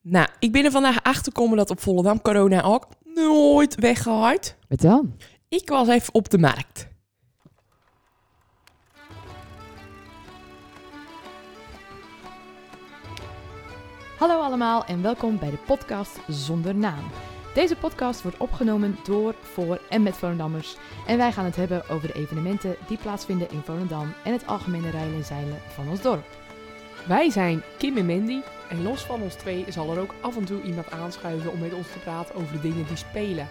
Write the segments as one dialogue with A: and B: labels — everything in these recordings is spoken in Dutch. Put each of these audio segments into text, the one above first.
A: Nou, ik ben er vandaag achter gekomen dat op Volendam corona ook nooit weggehaald.
B: Wat dan?
A: Ik was even op de markt.
B: Hallo allemaal en welkom bij de podcast Zonder Naam. Deze podcast wordt opgenomen door, voor en met Volendammers. En wij gaan het hebben over de evenementen die plaatsvinden in Volendam en het algemene rijden en zeilen van ons dorp.
C: Wij zijn Kim en Mandy en los van ons twee zal er ook af en toe iemand aanschuiven om met ons te praten over de dingen die spelen.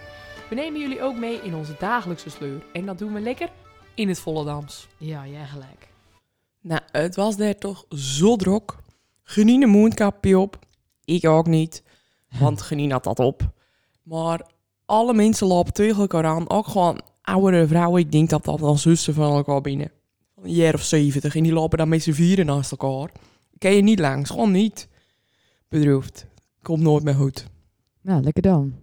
C: We nemen jullie ook mee in onze dagelijkse sleur en dat doen we lekker in het Volendams.
B: Ja, jij gelijk.
A: Nou, het was daar toch zo drok. Genien een mondkapje op. Ik ook niet, want Genien had dat op. Maar alle mensen lopen tegen elkaar aan. Ook gewoon oudere vrouwen. Ik denk dat dat dan zussen van elkaar binnen. Van een jaar of zeventig. En die lopen dan met z'n vieren naast elkaar. Ken je niet langs, gewoon niet. Bedroefd. Komt nooit meer goed.
B: Nou, lekker dan.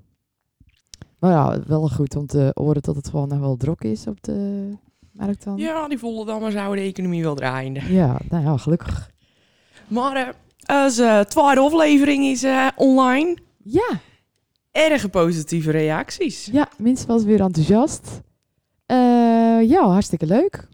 B: Maar ja, wel goed om te horen dat het gewoon nog wel drok is op de markt dan.
A: Ja, die Volendamers houden de economie wel draaiende.
B: Ja, nou ja, gelukkig.
A: Maar eh, als eh, tweede aflevering is eh, online.
B: Ja,
A: Erg positieve reacties.
B: ja, mensen was weer enthousiast. Eh, ja, hartstikke leuk.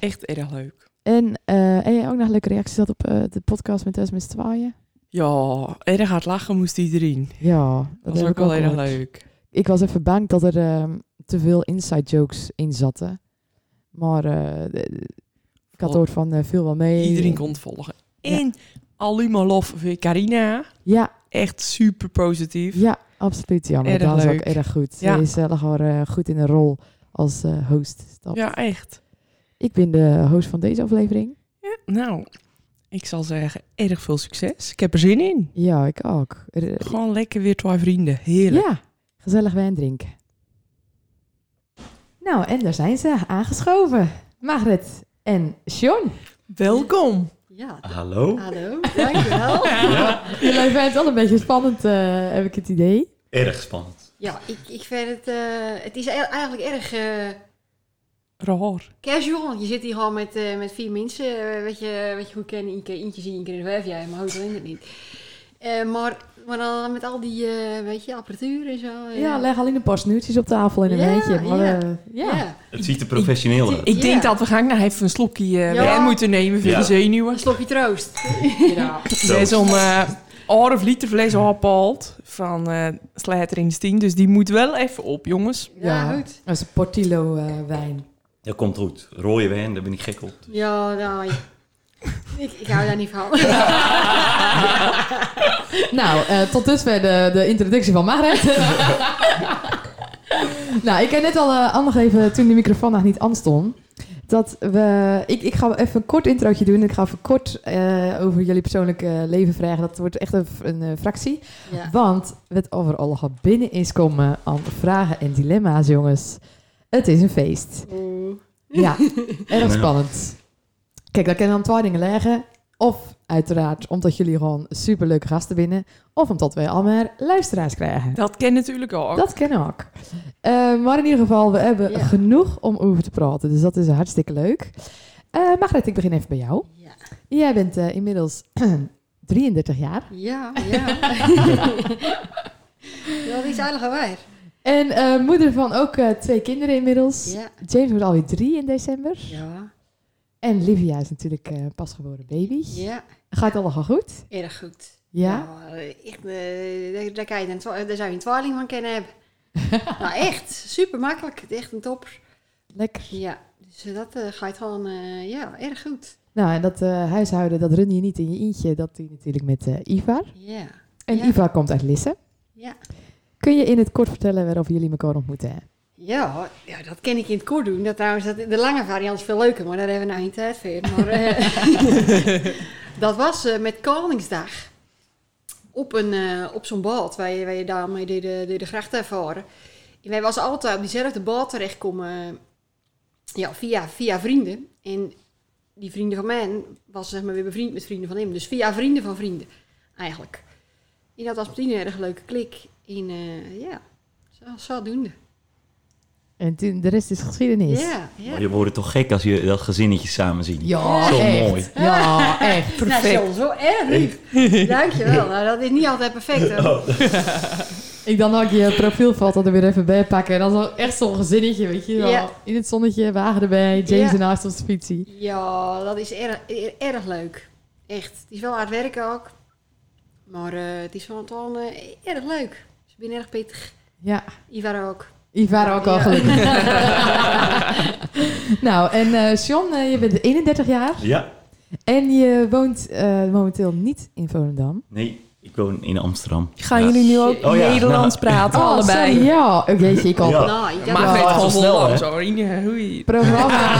A: Echt erg leuk.
B: En, eh, en jij ook nog leuke reacties had op eh, de podcast met Thuis met z'n tweeën?
A: Ja, erg hard lachen moest iedereen.
B: Ja, dat
A: Dat was
B: heb
A: ook
B: ik
A: wel erg
B: gehoord.
A: leuk.
B: Ik was even bang dat er ehm, te veel inside jokes in zaten. Maar eh, de- ik had
A: Vol-
B: hoort van eh, veel wel mee.
A: Iedereen kon het volgen.
B: Ja.
A: En Alima Lof voor Carina.
B: Ja,
A: Echt super positief.
B: ja, absoluut. Ja, maar
A: Erg
B: dat was ook
A: leuk.
B: erg goed.
A: Ja.
B: Ze is eh, lag wel eh, goed in de rol als eh, host. Stap.
A: Ja, echt.
B: Ik ben de host van deze aflevering.
A: Ja, nou, ik zal zeggen, erg veel succes. Ik heb er zin in.
B: Ja, ik ook. Er-
A: Gewoon lekker weer twee vrienden. Heerlijk.
B: Ja, gezellig wijn drinken. Nou, en daar zijn ze aangeschoven. Margret en Sean.
A: Welkom.
B: Ja,
D: Hallo?
B: hallo. Dankjewel.
D: Ja,
B: Jullie vinden het wel een beetje spannend, eh, heb ik het idee.
D: erg spannend.
E: Ja, ik, ik vind het... eh, het is e- eigenlijk erg eh,
A: Raar.
E: casual. Je zit hier gewoon met, eh, met vier mensen. eh, weet, je, weet je goed kennen. Eén keer eentje zie, één keer in de vijf jaar. Maar hoe drinkt het niet? Eh, maar, maar dan met al die eh, weet je, apparatuur en zo. eh.
B: Ja, leg alleen een paar snoertjes op tafel in een
E: Ja,
B: wijntje. Maar,
E: ja.
B: eh, ja.
E: Ja.
D: Het ziet er professioneel uit.
A: Ik denk
E: Ja.
A: dat we gaan nou even een slokje eh,
E: Ja.
A: wijn moeten nemen voor
D: Ja.
A: de zenuwen.
E: Een slokje troost.
D: Zo.
A: Er is om eh half liter vlees opgehaald van eh Slijterings 10. Dus die moet wel even op, jongens.
E: Ja,
B: Ja.
E: goed.
B: Dat is een Portillo eh, wijn.
D: Dat komt goed. Rode wijn, daar ben ik gek op.
E: Ja, nou... ik- Ik, ik hou daar niet van.
B: Nou, eh, tot dusver de, de introductie van Marit. nou, ik heb net al eh, aangegeven toen de microfoon nog niet aan stond. Dat we. Ik, ik ga even een kort introotje doen. Ik ga even kort eh, over jullie persoonlijke leven vragen. Dat wordt echt een, een eh, fractie.
E: Ja.
B: Want het overal gaat binnen is komen aan vragen en dilemma's, jongens. Het is een feest.
E: Oeh.
B: Ja, erg
D: Ja.
B: spannend. Kijk, daar kunnen dan twee dingen liggen. Of uiteraard omdat jullie gewoon superleuke gasten binnen. Of omdat wij allemaal luisteraars krijgen.
A: Dat ken natuurlijk ook.
B: Dat kennen ook. Eh, maar in ieder geval, we hebben
E: Ja.
B: genoeg om over te praten. Dus dat is hartstikke leuk. Eh Margret, ik begin even bij jou.
E: Ja.
B: Jij bent eh, inmiddels 33 jaar.
E: Ja, ja. Dat is eigenlijk al waar.
B: En eh, moeder van ook eh, twee kinderen inmiddels.
E: Ja.
B: James wordt alweer drie in december.
E: Ja.
B: En Livia is natuurlijk eh, pasgeboren baby.
E: Ja.
B: Gaat het allemaal goed?
E: Erg goed.
B: Ja?
E: echt, eh, daar, daar kan je een twa- daar zou je een twaling van kunnen hebben. nou, echt. Super makkelijk. Echt een topper.
B: Lekker.
E: Ja, dus eh, dat eh, gaat gewoon eh, ja, erg goed.
B: Nou, en dat eh, huishouden, dat run je niet in je eentje. Dat doe je natuurlijk met eh, Ivar.
E: Ja.
B: En
E: Ja.
B: Ivar komt uit Lisse.
E: Ja.
B: Kun je in het kort vertellen waarover jullie elkaar ontmoeten?
E: Ja, ja, dat kan ik in het kort doen. Dat trouwens, dat, de lange variant is veel leuker, maar daar hebben we nou niet tijd voor. Maar, eh, dat was eh, met Koningsdag. Op, een, eh, op zo'n boot, waar je, waar je daarmee door de, door de grachten ervaren. En wij was altijd op diezelfde boot terechtkomen eh, ja, via, via vrienden. En die vrienden van mij was zeg maar weer bevriend met vrienden van hem. Dus via vrienden van vrienden, eigenlijk. En dat was meteen een erg leuke klik. En eh, ja, zo, zodoende.
B: En toen, de rest is geschiedenis.
E: Ja, ja.
D: Je wordt toch gek als je dat gezinnetje samen ziet.
B: Ja,
D: Zo
B: echt.
D: mooi.
B: Ja, echt.
E: Nou,
B: Perfect.
E: John, zo erg lief. Dankjewel. Nou, dat is niet altijd perfect. Hoor.
D: Oh,
B: Ik dan ook je profielfoto er weer even bij pakken. En dan zo echt zo'n gezinnetje, weet je wel.
E: Ja.
B: In het zonnetje, wagen erbij, James
E: Ja.
B: en naast op de fietsie.
E: Ja, dat is erg, er- erg leuk. Echt. Het is wel hard werken ook. Maar eh, het is gewoon toch, eh, erg leuk. Ze zijn erg pittig.
B: Ja,
E: Ivar ook.
B: Ivar ook al
E: Ja.
B: gelukkig. nou, en eh Sean, eh, je bent 31 jaar.
D: Ja,
B: En je woont eh, momenteel niet in Volendam.
D: nee, ik woon in Amsterdam.
A: Gaan
D: Ja.
A: jullie nu ook
D: Oh ja,
A: Nederlands praten, allebei?
B: sorry, ja. Oh, jeetje, ik al.
D: Ja.
E: Nou, ik
A: Maar
B: Ja.
A: ik weet
D: Ja,
A: gewoon
D: zo snel,
A: wel
D: hè?
A: zo. Ine, Hoe
B: Programma,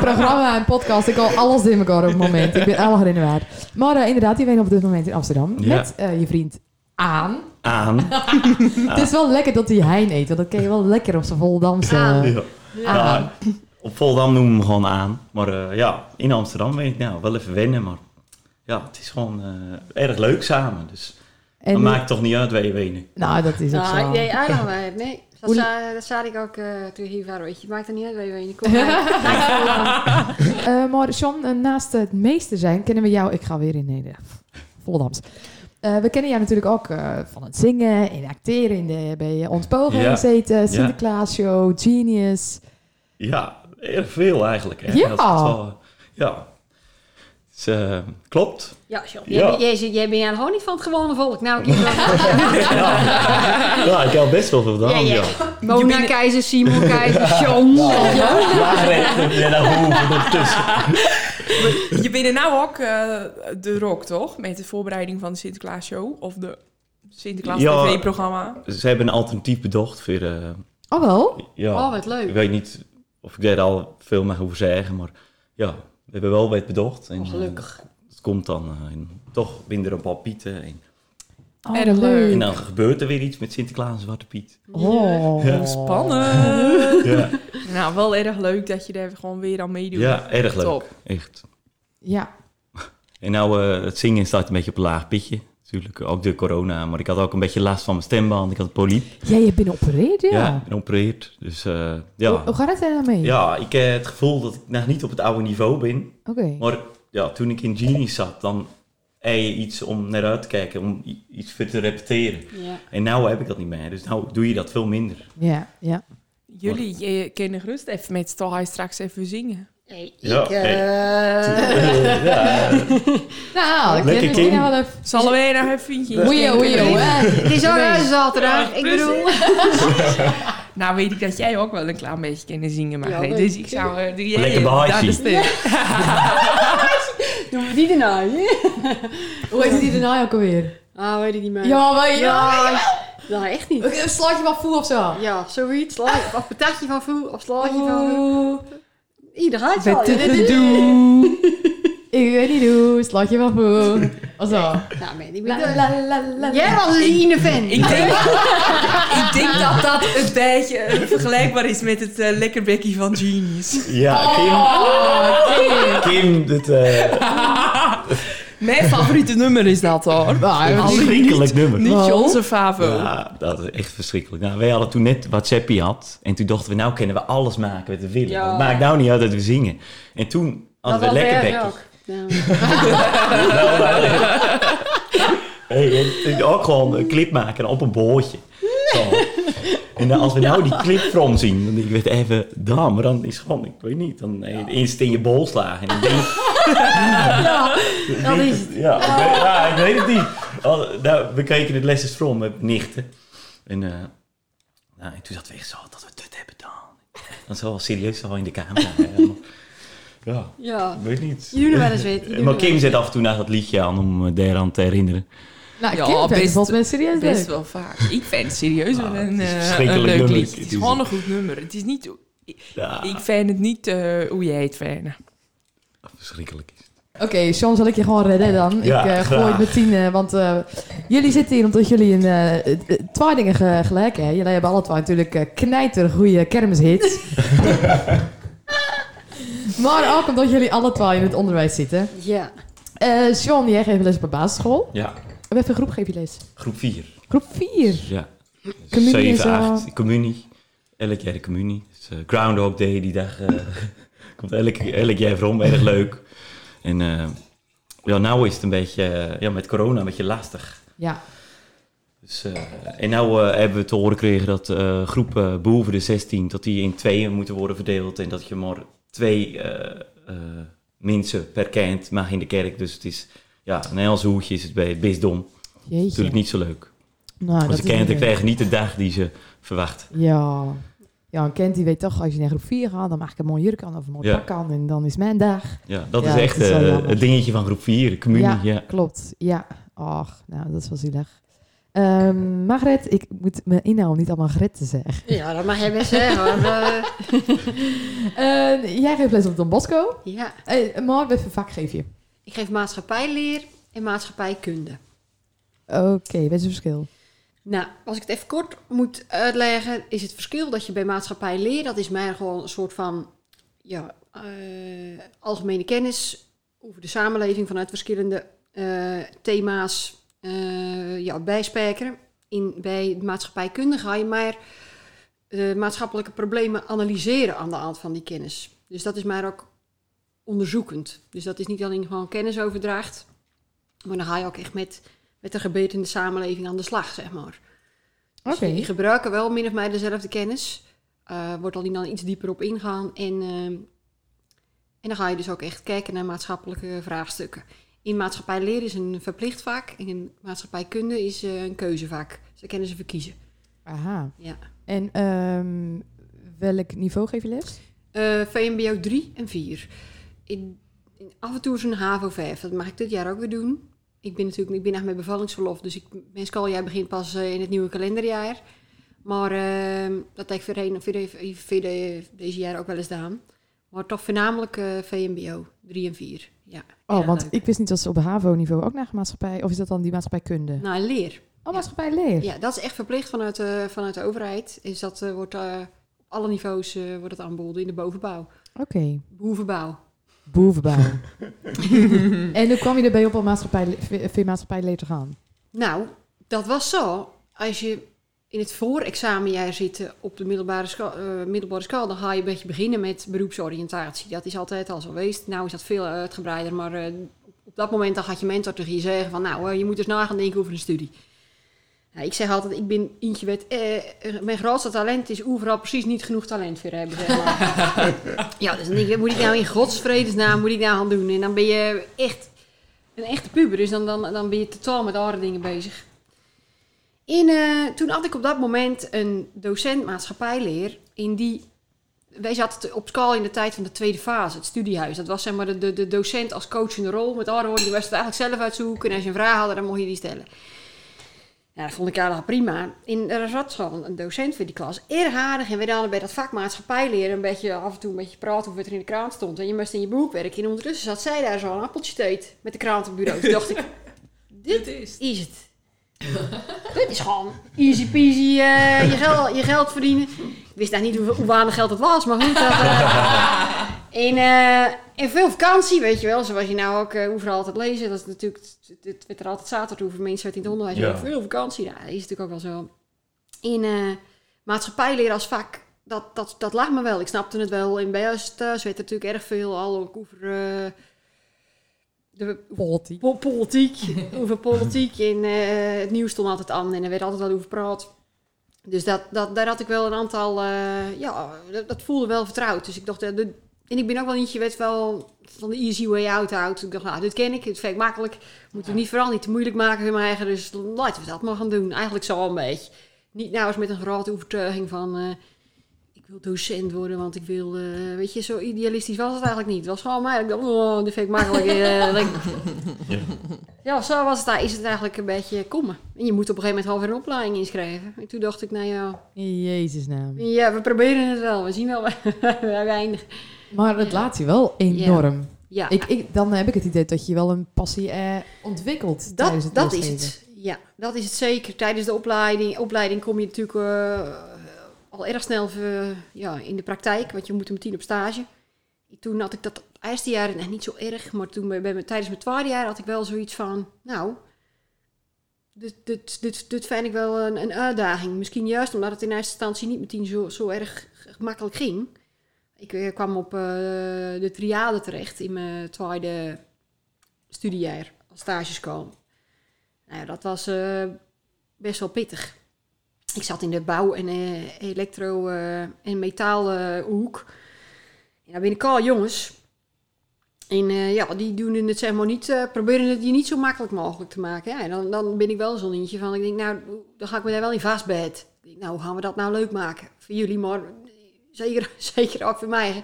B: programma en podcast. Ik al alles in elkaar op het moment. Ik ben alles in de waar. Maar eh, inderdaad, je woont op dit moment in Amsterdam.
D: Ja.
B: Met eh, je vriend Aan.
D: Aan. Ah.
B: Het is wel lekker dat hij Hein eet. Want dat ken je wel lekker op zijn Volendamse...
E: Aan.
D: Ja.
B: Aan.
D: Ja, op Volendam noemen we hem gewoon aan. Maar eh, ja, in Amsterdam weet ik nou wel even wennen. Maar ja, het is gewoon eh, erg leuk samen. Dus
B: En
D: dat
B: die-
D: maakt toch niet uit waar je wenen.
B: eh, Nou, dat is ook
E: Nou,
B: zo.
E: nee, Adam, eh, nee. Dat
B: Hoe-
E: zei, dat zei ik ook eh, toen hier waren. Weet je, maakt er niet uit waar je heen komt. Maar-
B: Eh, maar Sean, eh, naast het meester zijn kennen we jou... Ik ga weer in eh, Nederland. Volendams. Eh, we kennen jou natuurlijk ook eh, van het zingen en acteren. In de, bij eh, ons Pogen
D: Ja.
B: gezeten. Sinterklaas Show, Genius.
D: Ja, erg veel eigenlijk. Hè.
B: Ja.
D: Dat is wel, ja. Dus, eh, klopt.
E: Ja, John.
D: Ja.
E: Jij, bent- jij, zit- jij bent eigenlijk gewoon niet van het gewone volk. Nou, ik
D: Ja, ik heb best wel veel gedaan.
E: Ja,
D: Ja,
E: ja.
D: ja.
E: Mona Keizer, Simon Keizer, John. Ja.
D: Maagrechten, Ah, ja, daar hoeven we nog tussen.
A: Je bent er nou ook eh, de rock, toch? Met de voorbereiding van de Sinterklaas Show of de Sinterklaas
D: Ja.
A: TV-programma.
D: Ze hebben een alternatief bedacht voor... eh,
B: Oh wel?
D: ja,
E: Oh, wat leuk.
D: Ik weet niet of ik daar al veel mee hoef zeggen, maar ja, we hebben wel wat bedacht. En,
E: Oh, gelukkig.
D: eh, het komt dan eh, en toch minder een paar pieten. En,
B: Oh,
A: Erg leuk.
D: en dan gebeurt er weer iets met Sinterklaas en Zwarte Piet.
B: Oh.
D: Ja.
A: Spannend.
D: Ja,
A: nou, wel erg leuk dat je daar gewoon weer aan meedoet.
D: ja erg leuk.
A: Top.
D: Echt.
B: Ja.
D: En nou, eh, het zingen staat een beetje op een laag pitje. Natuurlijk, ook door corona. Maar ik had ook een beetje last van mijn stemband. Ik had een poliep.
B: Jij hebt been opereerd, ja.
D: Ja, en opereerd. Dus eh, ja.
B: Hoe, hoe gaat het er nou mee?
D: Ja, ik heb het gevoel dat ik nog niet op het oude niveau ben.
B: Oké.
D: Maar ja, toen ik in Genie zat, dan heb je iets om naar uit te kijken, om i- iets voor te repeteren.
E: Ja.
D: En nou heb ik dat niet meer, dus nou doe je dat veel minder.
B: Ja, ja.
A: Jullie eh, kunnen gerust even met Stalhai straks even zingen.
E: Hey, ik,
D: Ja,
E: eh,
D: ja, eh,
B: Nou, dat ken
D: Lekker
B: misschien
D: kind.
B: wel even...
A: Zal we nog even vinden?
B: Oei, oei, oei, hè.
E: Het is ook huis zaterdag.
A: Ja,
E: Ik
A: precies.
E: bedoel...
A: Nou weet ik dat jij ook wel een klein beetje kan zingen, maar
E: Ja,
A: nee,
E: dat
A: dus
E: ik
A: ik zou... eh, die-
D: Lekker behaasje.
A: daar de stem.
E: Doen we die erna?
B: Hoe heet die daarna ook alweer?
E: Ah, weet ik niet meer.
B: Ja, maar ja.
E: Nou, echt niet.
B: Een slaatje van voel of zo.
E: Ja, zoiets.
A: Ah.
E: Like, of patatje van voer, of slaatje van voer.
B: Oeh,
E: Ieder gaat
A: Oh. Met
E: wel.
A: de
E: ja, dit is-
A: gedoe.
B: Ik weet niet hoe, slaatje van voel. Of zo.
E: Nou, man, ik
B: La,
E: ben
B: la, la, la, la.
E: Jij was dus een Ine-fan.
A: Ik denk, ik denk dat dat een beetje eh, vergelijkbaar is met het eh, lekker bekkie van Genius.
D: ja Kim,
E: Oh.
D: Kim, dit eh
A: Mijn favoriete nummer is dat hoor.
B: Nou,
D: een verschrikkelijk nummer.
A: Niet Ah,
B: Wow.
A: onze favo.
D: Ja, dat is echt verschrikkelijk. Nou, wij hadden toen net WhatsAppie had en toen dachten we, nou kunnen we alles maken wat we willen.
E: Ja.
D: Het maakt nou niet uit dat we zingen. En toen
E: Dat
D: hadden we
E: was
D: lekker
E: erg
D: bekjes.
E: ook. Nou, Ja.
D: Hey, en- en ook gewoon een clip maken op een bootje. Zo. En dan als we nou die clip from zien, dan denk ik weet even, damn, maar dan is gewoon, ik weet niet, dan eh, eerst in je bol slagen. En ik denk,
E: Dat is het.
D: ja, ik weet, ja, ik weet het niet. Al- nou, we keken het Lessons from met nichten. En, eh, nou, en toen zat we echt zo, dat we dit hebben gedaan. Dan zo wel serieus al in de camera. hè. ja,
E: Ja.
D: ik weet niet.
E: Je doet er wel eens wit. je doet
D: Maar
E: er wel
D: Kim
E: eens
D: zet af en toe naar dat liedje aan om eh, daaraan te herinneren.
B: Nou,
A: Ja,
B: Kim vindt het
A: best-
B: volgens mij serieus
A: Best
B: leuk.
A: wel vaak. Ik vind het serieus wel
D: Ah, het
A: een,
D: is een
A: eh,
D: verschrikkelijk
A: een leuk
D: nummer. Ah.
A: liedje. Het is
D: Het is
A: gewoon
D: een-
A: een goed nummer. Het is niet,
D: Ja,
A: ik vind het niet eh, hoe jij het vindt.
D: verschrikkelijk.
B: Oké, Sean, zal ik je gewoon redden dan?
D: Ja,
B: ik eh, gooi
D: graag.
B: het met tien, eh, want eh, jullie zitten hier omdat jullie een, eh, eh, twee dingen ge- gelijk hebben. Jullie hebben alle twee natuurlijk eh, knijter goede kermishits. maar ook omdat jullie alle twee in het onderwijs zitten.
E: wit. Ja.
B: Eh Sean, jij geeft les op een basisschool.
D: Ja,
B: Welke groep geef je les?
D: groep 4.
B: Groep 4.
D: Ja.
B: Communie is
D: 7,
B: al-
D: 8, communie. Elk jaar de communie. Dus, eh, Groundhog Day, die dag eh, komt elk, elk jaar rond, erg leuk. En eh, ja, nou is het een beetje, eh, ja, met corona een beetje lastig.
B: Ja,
D: Dus, eh, en nou eh, hebben we te horen gekregen dat eh, groepen boven de 16, dat die in tweeën moeten worden verdeeld. En dat je maar twee eh, eh, mensen per kind mag in de kerk. Dus het is, ja, een Engels hoedje is het bij het bisdom.
B: jeetje.
D: Natuurlijk niet zo leuk.
B: Nou,
D: Want
B: dat
D: ze
B: is
D: kinderen
B: natuurlijk-
D: krijgen niet de dag die ze verwacht.
B: Ja. Ja, een kind die weet toch, als je naar groep 4 gaat, dan maak ik een mooie jurk aan of een mooi
D: Ja.
B: pak aan en dan is mijn dag.
D: Ja, dat
B: Ja,
D: is
B: dat
D: echt
B: is wel
D: eh,
B: jammer.
D: het dingetje van groep 4, de communie. Ja.
B: Klopt, ja. Och, nou, dat is wel zielig. Ehm Margret, ik moet mijn inhoud niet allemaal Gret te zeggen.
E: Ja, dat mag jij best zeggen hoor. Eh,
B: Eh, jij geeft les op Don Bosco,
E: ja.
B: Eh, maar wat voor vak geef je?
E: Ik geef maatschappijleer en maatschappijkunde.
B: Oké, wat is het verschil?
E: Nou, als ik het even kort moet uitleggen, is het verschil dat je bij maatschappijleer, dat is mij gewoon een soort van ja, eh, algemene kennis over de samenleving vanuit verschillende eh, thema's eh, ja, bijspijkeren. In, bij de maatschappijkunde ga je maar eh, maatschappelijke problemen analyseren aan de hand van die kennis. Dus dat is maar ook onderzoekend. Dus dat is niet alleen gewoon kennisoverdracht, maar dan ga je ook echt met, met de gebeurtenissen in de samenleving aan de slag, zeg maar.
B: Oké.
E: Dus die gebruiken wel min of meer dezelfde kennis. eh, wordt al die dan iets dieper op ingaan. En, ehm, en dan ga je dus ook echt kijken naar maatschappelijke vraagstukken. In maatschappij leren is een verplicht vak. En in maatschappijkunde is eh, een keuzevak. Dus daar kunnen ze verkiezen.
B: Aha.
E: Ja.
B: En ehm, welk niveau geef je les?
E: Eh, VMBO 3 en 4. In, in- af en toe is een HAVO 5. Dat mag ik dit jaar ook weer doen. Ik ben natuurlijk ik ben echt met bevallingsverlof. Dus ik, mijn schooljaar begint pas eh, in het nieuwe kalenderjaar. Maar ehm, dat heb ik verder, verder, verder deze jaar ook wel eens gedaan. Maar toch voornamelijk eh, VMBO 3 en 4. Ja,
B: Oh,
E: erg
B: want
E: leuk.
B: ik wist niet dat ze op HAVO-niveau ook naar maatschappij... Of is dat dan die maatschappijkunde?
E: Nou, leer.
B: oh, maatschappij leer.
E: Ja, dat is echt verplicht vanuit, de- vanuit de overheid. Is dat, eh, wordt, eh, op alle niveaus eh, wordt het aanboden. In de bovenbouw,
B: Oké.
E: boevenbouw.
B: Boevenbouw. en hoe kwam je erbij op om maatschappij, voor maatschappijleer te gaan?
E: Nou, dat was zo. Als je in het voorexamenjaar zit eh, op de middelbare school, eh, middelbare school, dan ga je een beetje beginnen met beroepsoriëntatie. Dat is altijd al zo geweest. Nou is dat veel eh, uitgebreider, maar eh, op dat moment dan gaat je mentor tegen je zeggen van nou, eh, je moet dus na gaan denken over een studie. Nou, ik zeg altijd, ik ben Intje Wet. eh, eh, mijn grootste talent is overal precies niet genoeg talent voor hebben. Zeg maar. ja, dus dan denk ik, wat moet ik nou in godsvredesnaam moet ik nou gaan doen? En dan ben je echt een echte puber, dus dan, dan, dan ben je totaal met andere dingen bezig. In, eh, toen had ik op dat moment een docent maatschappijleer. In die, wij zaten te- op school in de tijd van de tweede fase, het studiehuis. Dat was zeg maar de, de, de docent als coachende rol. Met andere woorden, die was het eigenlijk zelf uitzoeken. En als je een vraag had, dan mocht je die stellen. Ja, dat vond ik eigenlijk prima. In, er zat gewoon een docent voor die klas. Erg aardig. En we hadden bij dat vak maatschappij leren een beetje af en toe een beetje praten over wat er in de krant stond. En je moest in je boek werken. En ondertussen zat zij daar zo een appeltje te eten met de krant op het bureau. Toen dacht ik, dit
C: is
E: is het. dit is gewoon easy peasy eh, je, geld, je geld verdienen. Ik wist daar niet hoe, hoe weinig geld het was, maar goed. Dat, eh. en, eh, en veel vakantie, weet je wel. Zoals je nou ook eh, overal altijd lezen. Dat is natuurlijk, het- het werd er altijd zaterdag over mensen uit in het onderwijs.
D: Ja.
E: maar Veel vakantie, nou, dat is natuurlijk ook wel zo. In eh maatschappijleer als vak, dat, dat, dat lag me wel. Ik snapte het wel. In bij ons thuis werd er natuurlijk erg veel al ook over... eh, de,
B: Polti.
E: Po- politiek. over politiek. En eh, het nieuws stond altijd aan en er werd altijd wat over gepraat. Dus dat, dat, daar had ik wel een aantal... eh, ja, dat, dat voelde wel vertrouwd. Dus ik dacht... eh, dit- en ik ben ook wel niet, je weet wel, van de easy way out houdt. Ik dacht, nou, dit ken ik. Het vind ik makkelijk. Moet ik niet vooral niet te moeilijk maken voor mijn eigen. Dus laten we dat maar gaan doen. Eigenlijk zo een beetje. Niet nou eens met een grote overtuiging van... eh, ik wil docent worden, want ik wil... eh, weet je, zo idealistisch was het eigenlijk niet. Het was gewoon maar, ik dacht, oh, dit vind ik makkelijk. eh, dat ik- ja, zo was het daar. Is het eigenlijk een beetje komen. En je moet op een gegeven moment half weer een opleiding inschrijven. En toen dacht ik, nou ja,
B: In Jezus naam.
E: ja we proberen het wel. We zien wel waar we eindigen.
B: Maar het laat je wel enorm.
E: Ja,
B: Ik, ik, dan heb ik het idee dat je wel een passie eh, ontwikkelt tijdens
E: dat,
B: het
E: dat is
B: lesgeven.
E: het. Ja, dat is het zeker. Tijdens de opleiding, opleiding kom je natuurlijk eh, al erg snel eh, ja, in de praktijk. Want je moet meteen op stage. Toen had ik dat het eerste jaar nog niet zo erg. Maar toen bij, bij, mijn- tijdens mijn twaalfde jaar had ik wel zoiets van, nou... Dus dit, dit, dit vind ik wel een, een uitdaging. Misschien juist omdat het in eerste instantie niet meteen zo, zo erg gemakkelijk ging. Ik eh, kwam op eh, de triade terecht in mijn tweede studiejaar als stageschool. Nou ja, dat was eh, best wel pittig. Ik zat in de bouw- en eh, elektro- eh, en metaalhoek. en daar ben ik al jongens. En eh, ja, die doen het zeg maar niet, eh, proberen het je niet zo makkelijk mogelijk te maken. Ja, en dan, dan ben ik wel zo'n eentje van, ik denk nou, dan ga ik me daar wel in vastbed. Ik denk, nou, hoe gaan we dat nou leuk maken? Voor jullie, maar zeker, zeker ook voor mij.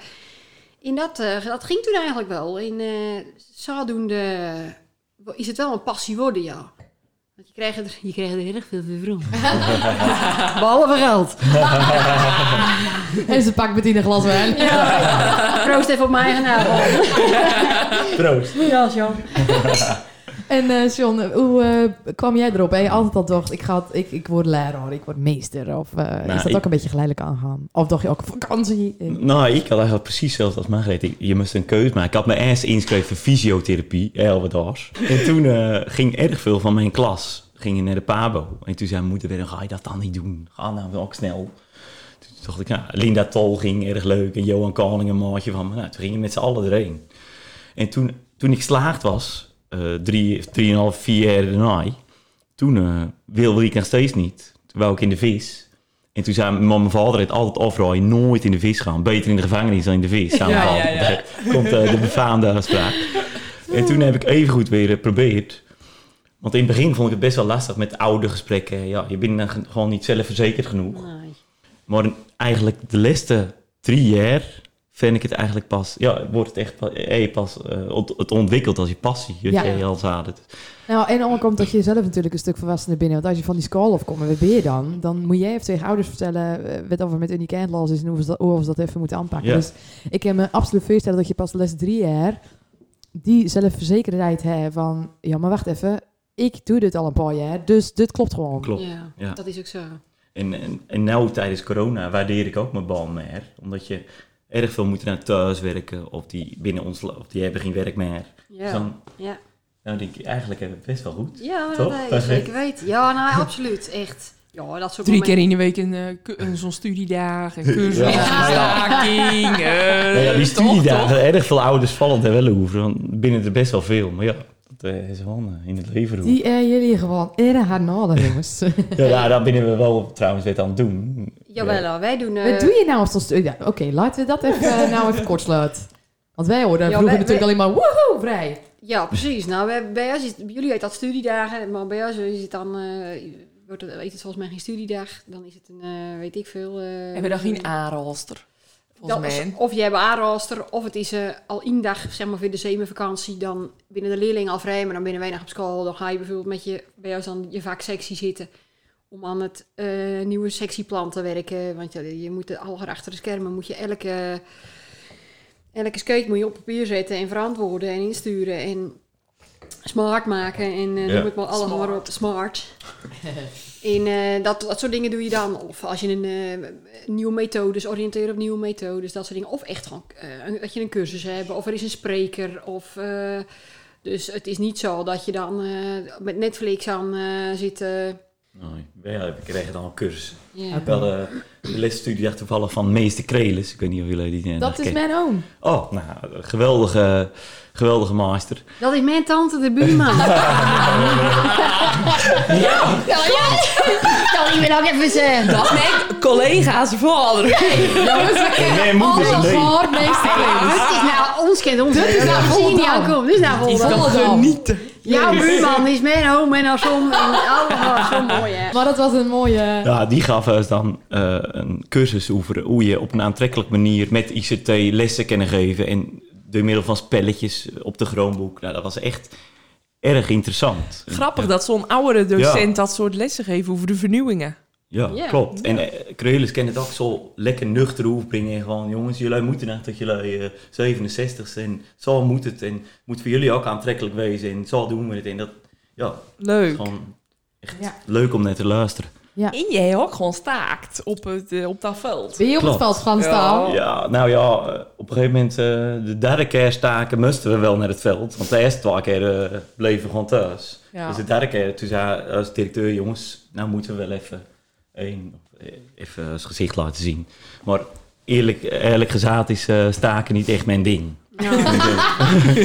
E: En dat, eh, dat ging toen eigenlijk wel. En eh zodoende is het wel een passie worden, ja. Want je krijgt er, je krijgt er heel erg veel voor vroeg. Behalve geld.
B: En ze pakt meteen een glas wijn.
E: Proost even op mijn eigen naam.
D: Troost.
E: Ja, Jan.
B: En eh John, hoe eh, kwam jij erop? Ben je altijd al dacht, ik, ga, het- ik, ik word leraar, ik word meester? Of eh, is dat
D: ik-
B: ook een beetje geleidelijk aangaan? Of dacht je ook vakantie? Eh,
D: Nou, ik had eigenlijk precies hetzelfde als Margreet. Ik- je moest een keuze maken. Ik had me eerst ingeschreven voor fysiotherapie, Elvedars. En toen eh, ging erg veel van mijn klas ging naar de PABO. En toen zei mijn moeder weer, ga je dat dan niet doen? Ga nou ook snel. Toen dacht ik, nou, Linda Tol ging erg leuk. En Johan Koning, een maatje van me. Nou, toen gingen we met z'n allen erheen. En toen, toen ik slaagd was, eh drie, drieënhalf, vier jaar daarna... Toen eh, wilde ik nog steeds niet. Toen wou ik in de vis. En toen zei mijn, mijn vader het altijd afraaien, nooit in de vis gaan. Beter in de gevangenis dan in de vis. zei mijn
A: Ja,
D: vader.
A: ja,
D: Daar komt eh, de befaamde uitspraak. En toen heb ik evengoed weer geprobeerd. Want in het begin vond ik het best wel lastig met oude gesprekken. Ja, je bent dan ge- gewoon niet zelfverzekerd genoeg.
E: Nee.
D: Maar eigenlijk de laatste drie jaar vind ik het eigenlijk pas... Ja, wordt het echt pas, eh, pas eh, ont- het ontwikkelt als je passie. Dat
B: Ja.
D: je al zaden.
B: Nou, en ook omdat je zelf natuurlijk een stuk volwassener binnen. Want als je van die school afkomt, en wat ben je dan? Dan moet jij even tegen ouders vertellen eh, wat over met Unique Handlas is en hoe ze dat, hoe ze dat even moeten aanpakken.
D: Ja.
B: Dus ik kan me absoluut voorstellen dat je pas de les drie jaar die zelfverzekerdheid hebt van... Ja, maar wacht even, ik doe dit al een paar jaar, dus dit klopt gewoon.
D: Klopt.
E: Ja,
D: Ja.
E: dat is ook zo.
D: En, en, en nou tijdens corona waardeer ik ook mijn baan meer. Omdat je erg veel moet naar thuis werken. Of die binnen ons la- of die hebben geen werk meer. Dus
E: Ja,
D: dan
E: ja.
D: nou denk ik, eigenlijk heb ik het best wel goed.
E: ja
D: Toch?
E: nee,
D: Dat is
E: zeker weten. Ja, nou, absoluut. Echt. Ja, dat soort
A: Drie
E: momenten.
A: keer in de week een, eh, cu- een zo'n studiedag, een cursus,
D: Ja.
A: een staking. eh,
D: Nou ja, die
A: toch, toch?
D: studiedagen, erg veel ouders vallen ter welle hoeven. Want binnen er best wel veel. Maar ja, dat eh, is wel eh, in het leven hoe.
B: Die eh, jullie gewoon erg hard nodig, jongens.
D: Ja, nou, daar binnen we wel trouwens weer aan het doen.
E: Jawel, hoor. wij doen... eh,
B: Wat doe je nou als dat stu- ja, Oké, laten we dat even, eh, nou even kort sluiten. Want wij hoorden
E: Ja,
B: vroeger
E: wij-
B: natuurlijk alleen maar woehoe, vrij.
E: Ja, precies. Nou, wij, bij ons is, bij jullie heet dat studiedagen, maar bij ons is het dan... eh, wordt het, heet het volgens mij geen studiedag. Dan is het een, eh, weet ik veel... eh,
A: Hebben we dan geen aanrolster? Volgens
E: dan-
A: mij.
E: Of je hebt een aanrooster, of het is eh, al één dag, zeg maar, voor de zomervakantie. Dan binnen de leerlingen al vrij, maar dan binnen weinig op school. Dan ga je bijvoorbeeld met je, bij ons dan je vaak sectie zitten. Om aan het eh, nieuwe sectieplan te werken. Want ja, je moet de- al achter de schermen, moet je elke, elke skate moet je op papier zetten en verantwoorden en insturen. En smart maken en eh
D: Ja.
E: noem het maar allemaal maar op. Smart. En eh, dat, dat soort dingen doe je dan. Of als je een eh, nieuwe methodes, oriënteren op nieuwe methodes, dat soort dingen. Of echt gewoon eh, een- dat je een cursus hebt, of er is een spreker. Of, eh, dus het is niet zo dat je dan eh, met Netflix aan eh, zit. eh,
D: Nee, ja, we kregen dan een cursus.
E: ja.
D: Ik had eh, de laatste studiedag toevallig van meester Krelis. Ik weet niet of jullie die eh, nog
B: Dat is
D: kennen.
B: mijn oom.
D: Oh, nou, een geweldige, geweldige master.
E: Dat is mijn tante, de buurman. ja, ja, ja. Kan ik me ook even
B: eh,
E: zeggen.
A: Dat mijn collega's vader.
D: Mijn moeder
B: Alles gehoord, meester Clemens.
E: Het is nou ons kind, ons kind.
B: nou
E: Nou, zie je
B: Volendam.
E: aankomen. Dit is nou
A: Die
E: Volendam.
A: kan genieten.
E: Jouw buurman is mijn oom en als om. En allemaal zo mooi, hè.
B: Maar dat was een mooie...
D: Ja, die gaf ons dan eh, een cursus over hoe je op een aantrekkelijke manier met ICT lessen kan geven. En door middel van spelletjes op de Chromebook. Nou, dat was echt erg interessant.
A: Grappig dat zo'n oudere docent dat soort lessen geeft over de vernieuwingen.
D: Ja,
E: Ja.
D: klopt. En eh Kreulis kan het ook zo lekker nuchter overbrengen. En gewoon, jongens, jullie moeten echt dat jullie eh, 67 zijn. Zo moet het. En moet voor jullie ook aantrekkelijk wezen. En zo doen we het. En dat, ja, het is
A: Leuk.
D: gewoon echt
B: Ja.
D: leuk om naar te luisteren.
B: Ja.
A: En jij hebt ook gewoon staakt op, het, eh, op dat veld.
B: Ben je op het
D: Klopt.
B: veld gaan
A: Ja.
B: staan?
D: Ja, nou ja, eh, op een gegeven moment, eh, de derde keer staken moesten we wel naar het veld. Want de eerste twee keer eh, bleven we gewoon thuis.
A: Ja.
D: Dus de derde keer, toen zei als directeur, jongens, nou moeten we wel even, een, even ons gezicht laten zien. Maar eerlijk, eerlijk gezegd is eh, staken niet echt mijn ding.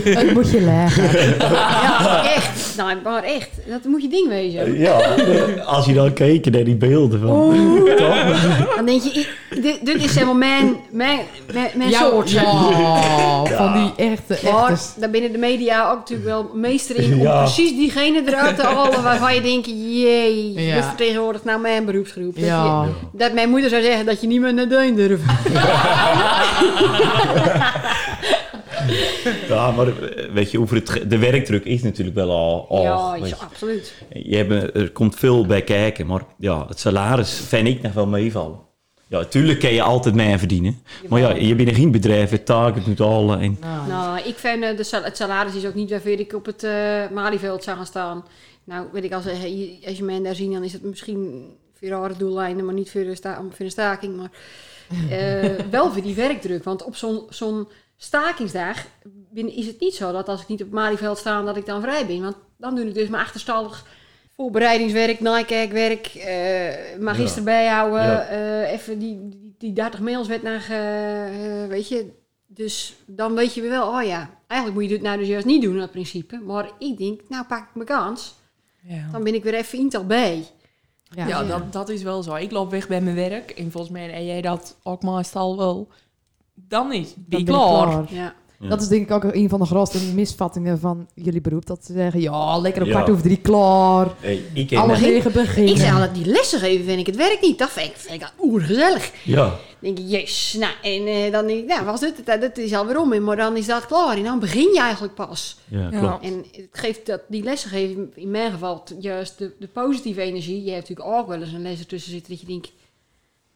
B: Het moet je leggen.
E: Ja, echt. Nou, maar echt. Dat moet je ding wezen.
D: ja, als je dan keek naar die beelden van... Toch?
E: Dan denk je, i- dit, dit is helemaal mijn, mijn, mijn, mijn
B: Ja,
E: soort.
B: ja, van die echte,
E: Maar
B: echte...
E: daar binnen de media ook natuurlijk wel meester in om
D: Ja.
E: precies diegene eruit te halen waarvan je denkt, jee,
B: Ja.
E: dat vertegenwoordigt nou mijn beroepsgroep. Dat
B: Ja.
E: je- Dat mijn moeder zou zeggen dat je niet meer naar Deun durft.
D: Ja, maar eh, weet je, over het, de werkdruk is natuurlijk wel al... al
E: ja,
D: Oh, weet
E: is,
D: je.
E: absoluut.
D: Je hebt, er komt veel bij kijken, maar ja, het salaris vind ik nog wel meevallen. Ja, tuurlijk kan je altijd mee verdienen. Maar ja, je bent geen bedrijf, het target moet halen. En,
E: Nou, ik vind eh, de sal- het salaris is ook niet waarvoor ik op het eh, Malieveld zou gaan staan. Nou, weet ik, als, eh, als je mij daar ziet, dan is het misschien voor rare doeleinden, maar niet voor de, sta- voor een staking. Maar eh, wel voor die werkdruk. Want op zo'n zo'n stakingsdag ben- is het niet zo dat als ik niet op het Malieveld sta, dat ik dan vrij ben. Want dan doe ik dus mijn achterstallig voorbereidingswerk, nakijkwerk, eh magister
D: Ja.
E: bijhouden,
D: Ja.
E: eh, even die, die, die 30 mails werd naar, eh, eh, weet je, dus dan weet je wel, oh ja, eigenlijk moet je dit nou dus juist niet doen, dat principe. Maar ik denk, nou pak ik mijn kans.
A: Ja.
E: Dan ben ik weer even intel bij.
B: Ja,
A: Ja, dat, dat is wel zo. Ik loop weg bij mijn werk. En volgens mij en jij dat ook meestal wel. Dan is het
B: Dan
A: weer
B: ben ik
A: klaar.
B: klaar.
E: Ja.
B: Dat is denk ik ook een van de grootste misvattingen van jullie beroep. Dat ze zeggen, ja, lekker om
D: Ja.
B: kwart over drie klaar.
D: ik
B: Alle
E: nou-
B: regen beginnen.
E: Ik zei altijd, die lessen geven vind ik het werk niet. Dat vind ik, vind ik al oergezellig.
D: ja,
E: Dan denk ik, jezus. Nou, en eh, dan denk ik, nou, was dit het? Eh, Dat is alweer om. Maar dan is dat klaar. En dan begin je eigenlijk pas.
D: ja,
A: Ja.
D: klopt.
E: En het geeft dat, die lessen geven in mijn geval t- juist de, de positieve energie. Je hebt natuurlijk ook wel eens een les ertussen zitten dat je denkt...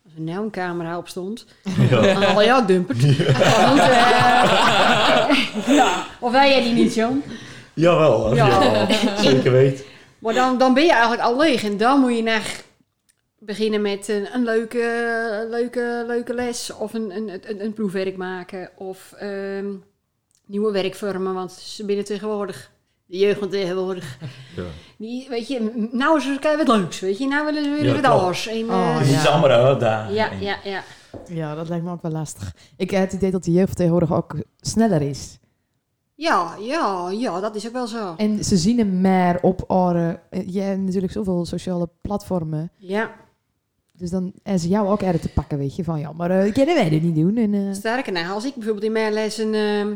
E: Als er nou een camera op stond,
D: Ja.
E: dan haal je ook dumpert. Dan moet, eh, ja. Of wij jij die niet, John?
D: Jawel,
E: Ja.
D: ja, zeker weten.
E: Maar dan, dan ben je eigenlijk al leeg. En dan moet je naar beginnen met een, een leuke, leuke, leuke les. Of een, een, een, een proefwerk maken. Of ehm, nieuwe werkvormen. Want ze binnen tegenwoordig. De jeugd van tegenwoordig.
D: Ja.
E: Die, weet je, m- nou is er kei wat leuks. Weet je, nou willen ze weer
D: Ja,
E: wat
D: klopt. Oh,
E: anders. En,
B: Oh,
E: eh,
D: Het is
B: Ja.
D: allemaal uit daar.
E: ja,
D: En-
E: ja, ja.
B: Ja, dat lijkt me ook wel lastig. Ik heb het idee dat de jeugd tegenwoordig ook sneller is.
E: Ja, ja, ja, dat is ook wel zo.
B: En ze zien hem meer op oren. Je hebt natuurlijk zoveel sociale platformen.
E: Ja,
B: Dus dan en ze jou ook erg te pakken, weet je. Van ja, maar eh kunnen wij dit niet doen? En, eh,
E: sterker nou, als ik bijvoorbeeld in mijn les een, ehm,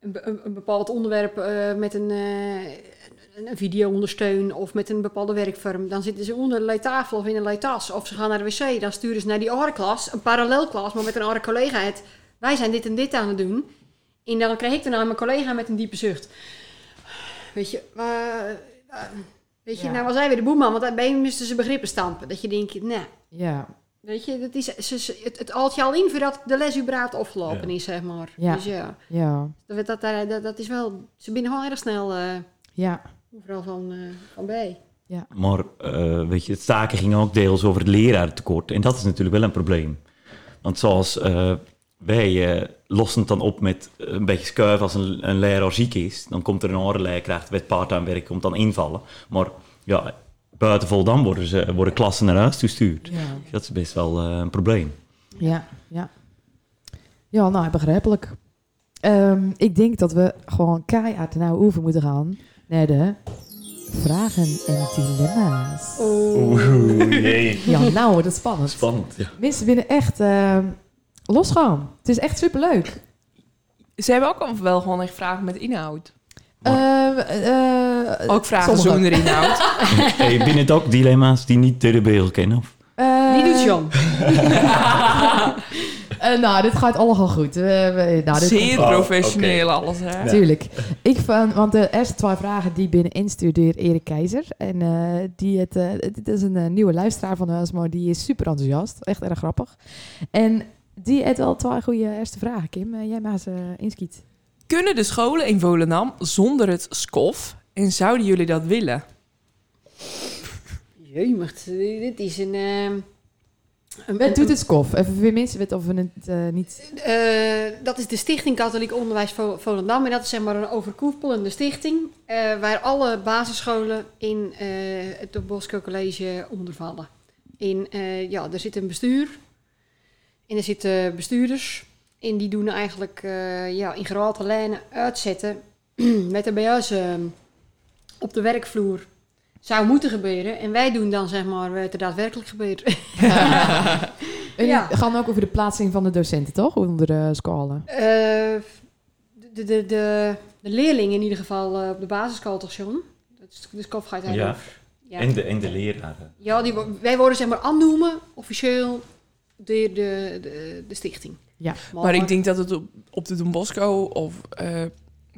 E: een, be- een bepaald onderwerp eh, met een, eh, een een video ondersteun of met een bepaalde werkvorm, dan zitten ze onder de leidtafel of in een leidtas of ze gaan naar de wc, dan sturen ze naar die andere klas, een parallelklas, maar met een andere collega het, wij zijn dit en dit aan het doen. En dan krijg ik daarna mijn collega met een diepe zucht. Weet je, eh, eh, weet je
B: Ja.
E: nou was hij weer de boeman, want bij hem moesten ze begrippen stampen. Dat je denkt, nou,
B: ja,
E: Weet je, dat is, ze- ze- het, het haalt je al in voordat de les überhaupt afgelopen is, zeg maar.
B: Ja.
E: Dus ja,
B: ja,
E: dat, dat, dat, dat- dat is wel... Ze binnen gewoon erg snel eh,
B: ja.
E: overal van, eh, van bij.
D: Maar eh, weet je, het staken ging ook deels over het lerarentekort. En dat is natuurlijk wel een probleem. Want zoals eh, wij eh, lossen het dan op met eh, een beetje schuif als een, een leraar ziek is. Dan komt er een andere leerkracht met part-time werk, komt dan invallen. Maar ja, buiten Volendam worden, ze, worden klassen naar huis toestuurd.
B: Ja.
D: Dat is best wel eh, een probleem.
B: Ja, ja. Ja, nou, begrijpelijk. Ehm, ik denk dat we gewoon keihard naar over moeten gaan. Naar de vragen en dilemma's. Ja, nou wordt het spannend.
D: Spannend, ja.
B: Mensen willen echt ehm losgaan. Het is echt superleuk.
A: Ze hebben ook al wel gewoon echt vragen met inhoud.
B: Ehm, eh,
A: Ook vragen
B: sommige.
A: zonder inhoud.
D: Hey, binnen het ook dilemma's die niet de beeld kennen? Of?
B: eh,
E: Die doet John.
B: eh, nou, dit gaat allemaal goed. We- we- nou, dit
A: Zeer
D: Oh,
A: professioneel alles, hè?
B: Tuurlijk. Ik van, want de eerste twee vragen die binnen instudeer Erik Keizer. En eh, die het, eh, dit is een eh, nieuwe luisteraar van ons, maar die is super enthousiast. Echt erg grappig. En die heeft wel twee goede eerste vragen, Kim. Eh, jij mag ze inskiet.
A: Kunnen de scholen in Volendam zonder het SCOF? En zouden jullie dat willen?
E: Jeugd, dit is een... ehm, een
B: Wat doet het kof? Even voor mensen weten of we het eh, niet...
E: Eh, dat is de Stichting Katholiek Onderwijs Vo- Volendam. En dat is zeg maar een overkoepelende stichting. eh, waar alle basisscholen in eh, het Don Bosco College onder vallen. In, eh, ja, er zit een bestuur. En er zitten bestuurders. En die doen eigenlijk eh, ja, in grote lijnen uitzetten. met de BS eh, op de werkvloer zou moeten gebeuren. En wij doen dan zeg maar wat er daadwerkelijk gebeurt.
B: En
E: Ja.
B: het gaat ook over de plaatsing van de docenten, toch? Onder de scholen.
E: Eh, de, de, de, de leerling in ieder geval eh, op de basisschool toch, John? Dat is dus kofgeit
D: Ja.
E: Ja.
D: En, de, en de leraren.
E: ja die, wo- wij worden zeg maar aannoemen officieel door de, de, de stichting.
B: Ja.
A: Maar ik denk dat het op, op de Don Bosco of eh,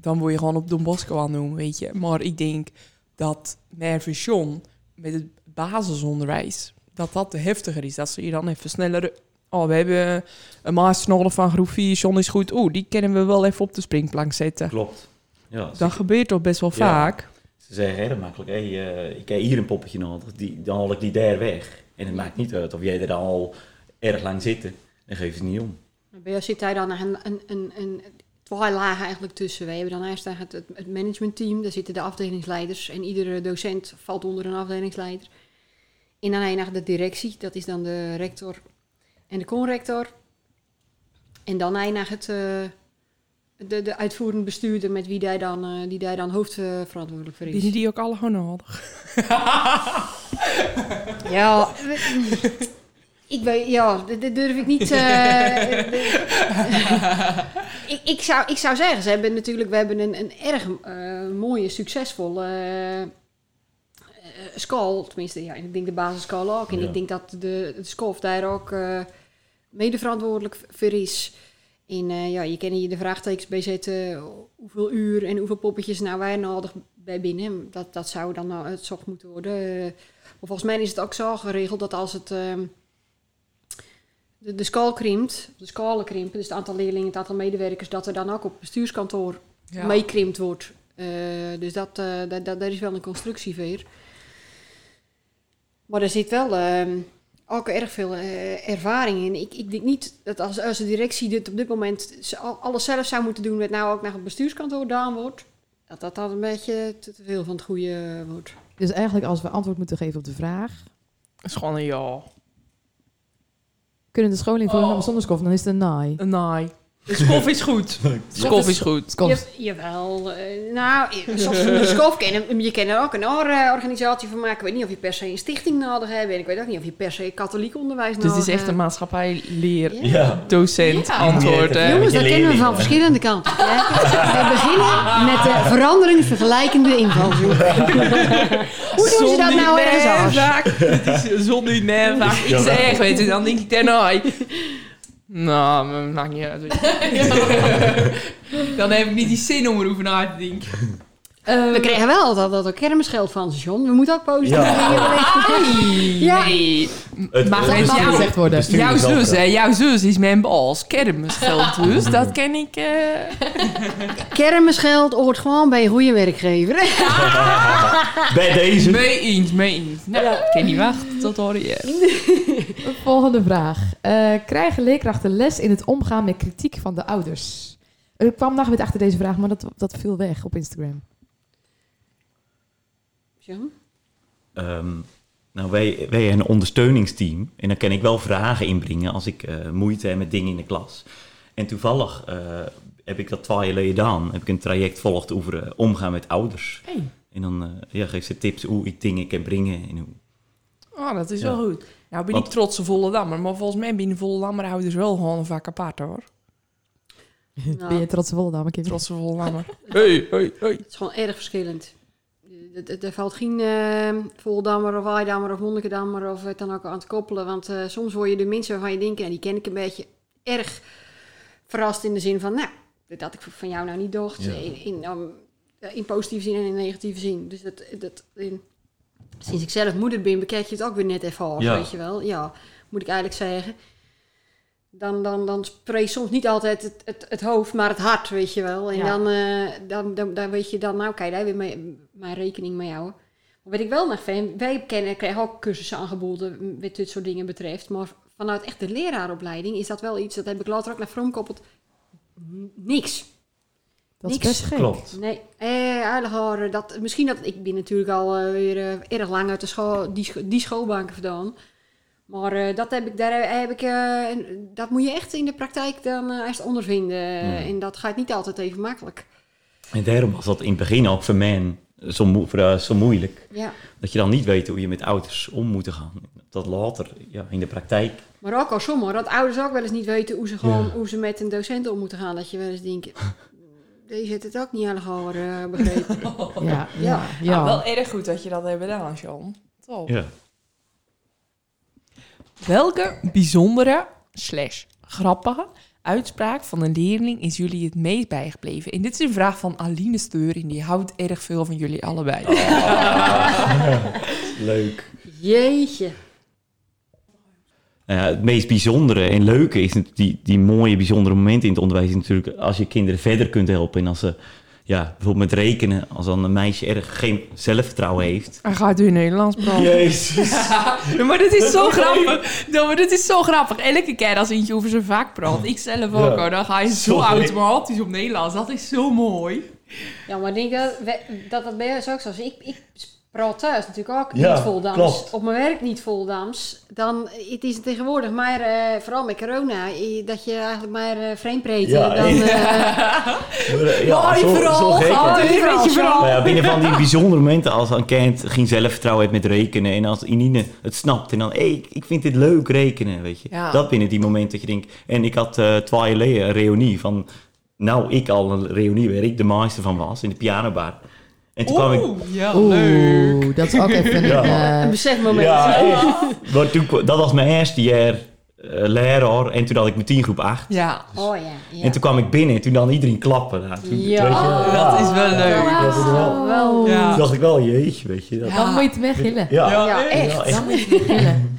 A: dan word je gewoon op Don Bosco aandoen, weet je. Maar ik denk dat Mervision met het basisonderwijs dat dat te heftiger is. Dat ze hier dan even sneller. Oh, we hebben een maas nodig van groep 4, John is goed. Oeh, die kunnen we wel even op de springplank zetten.
D: Klopt. Ja, ze,
A: Dat gebeurt toch best wel
D: Ja.
A: vaak.
D: ze zeggen heel makkelijk, hey, eh, ik heb hier een poppetje nodig, die, dan haal ik die daar weg. En het maakt niet uit of jij er dan al erg lang zit, dan geeft het niet om.
E: Bij jou zit daar dan een, een, een, een twee lagen eigenlijk tussen. Wij hebben dan eerst eigenlijk het, het managementteam, daar zitten de afdelingsleiders en iedere docent valt onder een afdelingsleider. En dan eindigt de directie, dat is dan de rector en de conrector. En dan eindigt het, eh, de, de uitvoerend bestuurder met wie daar dan, eh, die daar dan hoofdverantwoordelijk voor
A: Binnen
E: is.
A: die ook alle gewoon nodig.
E: Ja, ik weet, ja, dat dat durf ik niet. eh, ik, ik, zou, ik zou zeggen, ze hebben natuurlijk, we hebben een, een erg eh, mooie, succesvolle eh, eh, school. Tenminste, ja, ik denk de basisschool ook. En
D: Ja.
E: ik denk dat de, de school daar ook eh mede verantwoordelijk voor is. En eh, ja, je kan hier de vraagtekens bij zetten hoeveel uur en hoeveel poppetjes nou wij nodig bij binnen. Dat, dat zou dan nou uitzocht moeten worden. Eh, maar volgens mij is het ook zo geregeld dat als het ehm, de, de school krimpt, de scholen krimpen, dus het aantal leerlingen, het aantal medewerkers, dat er dan ook op het bestuurskantoor meekrimpt wordt. Eh, dus dat, eh, da- da- daar is wel een constructie voor. Maar er zit wel ehm, ook erg veel eh, ervaring in. Ik, ik denk niet dat als, als de directie dit op dit moment z- al- alles zelf zou moeten doen, wat nou ook naar het bestuurskantoor gedaan wordt, dat dat dan een beetje te te veel van het goede eh, wordt.
B: Dus eigenlijk als we antwoord moeten geven op de vraag...
A: Dat is gewoon een ja.
B: Kunnen de scholen in Volendam
A: Oh.
B: zonder skof, dan is het een naai. dus
A: Een naai. De skof is goed. Skof is goed.
B: Skof.
E: Ja, jawel. eh, nou, eh, zoals we de SCOF kennen, je kan er ook een andere organisatie van maken. Ik weet niet of je per se een stichting nodig hebt. En ik weet ook niet of je per se katholiek onderwijs
A: Dus
E: nodig
A: het
E: hebt.
A: is echt een maatschappij leer
E: Ja.
D: Ja.
A: docent
B: Ja.
A: antwoord. hè.
E: Jongens, dat
D: Met
E: kennen we
D: je leerlingen.
E: van verschillende kanten. hè. We beginnen met de verandering vergelijkende invalshoek. Hoe doen ze dat nou ergens anders?
A: Het is zon niet meer vaak. Ik
D: Ja.
A: zeg, weet je, dan denk ik ten ai. Nou, maar maakt niet uit. dan heb ik niet die zin om erover na te denken.
E: We kregen wel dat, dat er kermisgeld van ze, John. We moeten ook positief
D: Ja.
E: dingen beleven. Ja.
A: Nee.
D: Het-
A: Maar
D: het-
A: geen
B: Dat mag
A: jou-
B: gezegd worden.
D: Bestuur-
A: Jouw
D: is wel
A: zus, hè?
D: grappig.
A: Jouw zus is mijn baas. Kermisgeld dus. Dat ken ik. eh.
E: Kermisgeld hoort gewoon bij een goede werkgever.
D: bij deze.
A: Mee eens, mee eens. Nou, ik kan niet wachten tot hoor je.
B: Volgende vraag. Eh, krijgen leerkrachten les in het omgaan met kritiek van de ouders? Er kwam nog weer achter deze vraag, maar dat, dat viel weg op Instagram.
E: John?
D: Ehm, nou, wij, wij hebben een ondersteuningsteam. En dan kan ik wel vragen inbrengen als ik eh, moeite heb met dingen in de klas. En toevallig eh, heb ik dat twee jaar geleden gedaan. Heb ik een traject volgd over eh, omgaan met ouders.
A: Hey.
D: En dan eh, ja, geef ze tips hoe ik dingen kan brengen. En hoe...
A: Oh, dat is
D: Ja.
A: wel goed. Nou, ben ik
D: Wat-
A: trotse Volendammer. Maar volgens mij binnen Volendammer houden ze wel gewoon vaak apart, hoor.
E: Nou,
B: Ben je trots op Volendam, kind?
A: Trotse Volendammer. Hey, hey, hey.
E: Het is gewoon erg verschillend. Er- Er er valt geen eh Voldammer of Waaidammer of Monnikendammer of het dan ook aan te koppelen. Want eh, soms hoor je de mensen waarvan je denkt, en die ken ik een beetje erg verrast in de zin van, nou, dat had ik van jou nou niet docht.
D: Ja.
E: In, in, um, eh, in positieve zin en in negatieve zin. Dus dat, dat in, sinds ik zelf moeder ben, bekijk je het ook weer net even af,
D: Ja.
E: weet je wel. Ja, moet ik eigenlijk zeggen. Dan, dan, dan spreekt soms niet altijd het, het, het hoofd, maar het hart, weet je wel. En
A: Ja.
E: dan, eh, dan, dan, dan weet je dan, nou, kijk, daar weer mee, mijn rekening mee houden. Wat ik wel mag vinden, wij kennen, krijgen ook cursussen aangeboden wat dit soort dingen betreft. Maar vanuit echt de leraaropleiding is dat wel iets, dat heb ik later ook naar Vroom koppeld, n- niks.
B: Dat is
E: Niks.
B: best gek.
D: Klopt.
E: Nee, eh, eigenlijk hoor, eh, dat, misschien dat, ik ben natuurlijk al eh, weer eh, erg lang uit de school, die, scho- die schoolbanken vandaan. Maar eh, dat heb ik, daar heb ik, eh, en dat moet je echt in de praktijk dan eh, eerst ondervinden.
D: Hmm.
E: En dat gaat niet altijd even makkelijk.
D: En daarom was dat in het begin ook voor mij zo, moe- voor, eh, zo moeilijk.
E: Ja.
D: Dat je dan niet weet hoe je met ouders om moet gaan. Dat later ja, in de praktijk.
E: Maar ook al sommigen, dat ouders ook wel eens niet weten hoe ze, gewoon,
D: Ja.
E: hoe ze met een docent om moeten gaan. Dat je wel eens denkt, deze heeft het ook niet helemaal eh begrepen.
B: Ja, ja,
E: Ja.
A: Ja.
B: ja.
A: Nou, wel erg goed dat je dat hebt gedaan, Sean. Top.
D: Ja.
A: Welke bijzondere slash grappige uitspraak van een leerling is jullie het meest bijgebleven? En dit is een vraag van Aline Steuring. Die houdt erg veel van jullie allebei.
D: Leuk.
E: Jeetje.
D: Nou ja, het meest bijzondere en leuke is natuurlijk die, die mooie, bijzondere momenten in het onderwijs. is natuurlijk als je kinderen verder kunt helpen. En als ze ja, bijvoorbeeld met rekenen, als dan een meisje erg geen zelfvertrouwen heeft.
A: Hij gaat u Nederlands praten.
D: Jezus.
A: Ja, maar dit is zo grappig. Ja, maar dit is zo grappig. Elke keer als eentje over zijn vaak praat, ik zelf ook
D: Ja.
A: hoor, dan ga je zo
D: Sorry.
A: automatisch op Nederlands. Dat is zo mooi.
E: Ja, maar ik denk dat we- dat, dat bij jou is ook zo is. Ik, ik praat thuis natuurlijk ook
D: Ja,
E: niet vol Dams.
D: klopt.
E: Op mijn werk niet vol Dams. Dan eh, het is tegenwoordig maar, eh, vooral met corona, eh, dat je eigenlijk maar eh vreemd preet.
D: Ja,
E: eh, dan, eh,
D: Eh,
A: Maar je vooral gaat
E: hè?
A: weer met je
D: Nou
A: verhaal.
D: ja, binnen van die bijzondere momenten als een kind geen zelfvertrouwen heeft met rekenen. En als Inine het snapt en dan, hé, ik, ik vind dit leuk rekenen, weet je.
A: Ja.
D: Dat binnen die momenten dat je denkt. En ik had eh twee jaar geleden een reunie van, nou, ik al een reunie waar ik de meester van was in de pianobar. En toen kwam ik...
A: Oeh, ja, leuk.
B: Oeh, dat is ook even een...
D: Ja.
B: eh,
E: een besefmoment.
D: Ja, echt. Maar toen, kwa- dat was mijn eerste jaar eh, leraar en toen had ik mijn tien groep 8.
A: Ja,
E: Oh ja. ja.
D: En toen kwam ik binnen en toen dan iedereen klappen. Nou, toen,
E: Ja.
D: weet je,
E: Oh,
A: dat is wel leuk.
D: Ja, dat is wel-
E: Oh, wel.
D: Toen
A: Ja.
D: dacht ik wel, jeetje, weet je. Dat,
A: Ja.
B: Dan moet je het weghillen.
D: ja.
A: Ja.
E: Ja, echt.
D: Ja,
B: Dan moet je het weghillen.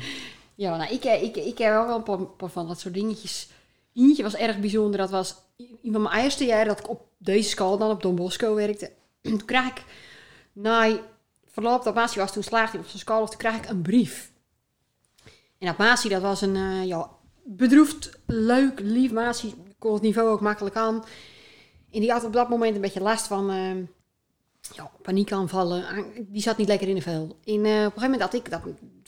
E: Ja, nou, ik, eh, ik, ik heb ook wel een paar, paar van dat soort dingetjes. Eentje was erg bijzonder. Dat was i- in mijn eerste jaar dat ik op deze school dan op Don Bosco werkte. Toen kreeg ik, na verloop dat Masi was, toen slaagde hij op zijn school, dus toen kreeg ik een brief. En dat Masi, dat was een eh, ja, bedroefd, leuk, lief Masi. Kon het niveau ook makkelijk aan. En die had op dat moment een beetje last van eh, ja, paniekaanvallen. Aan- Die zat niet lekker in de vel. En eh, op een gegeven moment had ik dat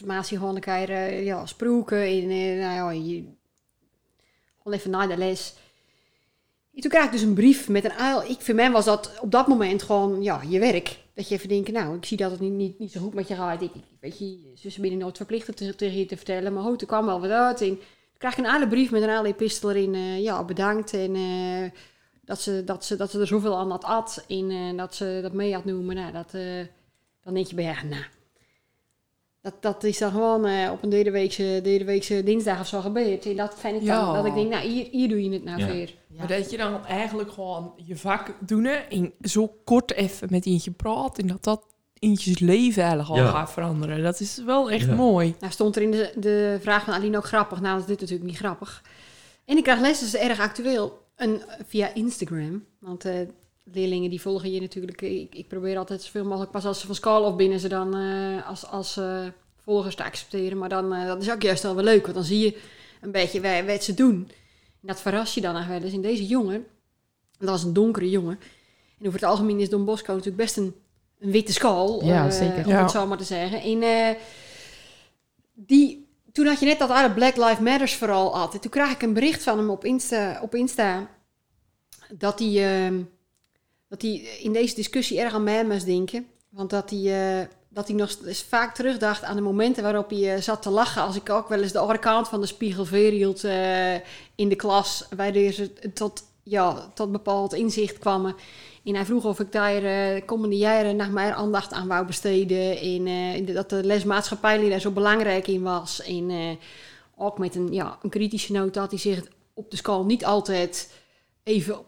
E: Maasje gewoon een keer eh, ja, sproeken. En eh, nou ja, je, gewoon even na de les. En toen kreeg ik dus een brief met een uil. Ik, voor mij was dat op dat moment gewoon ja, je werk. Dat je even denkt, nou, ik zie dat het niet, niet, niet zo goed met je gaat. Ik, ik- weet je, zussen binnen nooit verplicht om te- tegen je te vertellen. Maar goed, er kwam wel wat uit. En toen kreeg ik een uile brief met een uile epistel erin. eh, ja, bedankt. En eh, dat, ze, dat, ze, dat ze er zoveel aan had at. En eh, dat ze dat mee had noemen. Nou, dat, eh, dan denk je bij ja, nou... Dat, dat is dan gewoon eh, op een derde weekse, derde weekse dinsdag of zo gebeurd. En dat vind ik
A: Ja.
E: dan, dat ik denk, nou, hier, hier doe je het nou
D: Ja.
E: weer.
B: Ja.
A: Maar dat je dan eigenlijk gewoon je vak doen hè, en zo kort even met eentje praat en dat dat eentjes leven eigenlijk al
D: Ja.
A: gaat veranderen. Dat is wel echt
D: Ja.
A: mooi.
E: Nou stond er in de, de vraag van Aline ook grappig. Nou, dat is dit natuurlijk niet grappig. En ik krijg les, dat is erg actueel. En via Instagram. Want eh, leerlingen die volgen je natuurlijk. Ik, ik probeer altijd zoveel mogelijk, pas als ze van school of binnen ze dan eh, als, als eh, volgers te accepteren. Maar dan, eh, dat is ook juist wel weer leuk. Want dan zie je een beetje wa- wat ze doen. En dat verras je dan nog wel eens. En deze jongen, dat was een donkere jongen. En over het algemeen is Don Bosco natuurlijk best een, een witte school.
B: Ja,
E: eh,
B: zeker.
E: Om
A: Ja.
E: het zo maar te zeggen. En eh, die toen had je net dat oude Black Lives Matters vooral had. En toen kreeg ik een bericht van hem op Insta, op Insta dat hij ehm, dat hij in deze discussie erg aan mij moest denken. Want dat hij, eh, dat hij nog eens vaak terugdacht aan de momenten waarop hij eh, zat te lachen. Als ik ook wel eens de andere kant van de spiegel verhield eh, in de klas. Waardoor ze tot, ja, tot bepaald inzicht kwamen. En hij vroeg of ik daar eh, de komende jaren naar mijn aandacht aan wou besteden. En eh, dat de lesmaatschappij daar zo belangrijk in was. En eh, ook met een, ja, een kritische noot dat hij zich op de school niet altijd even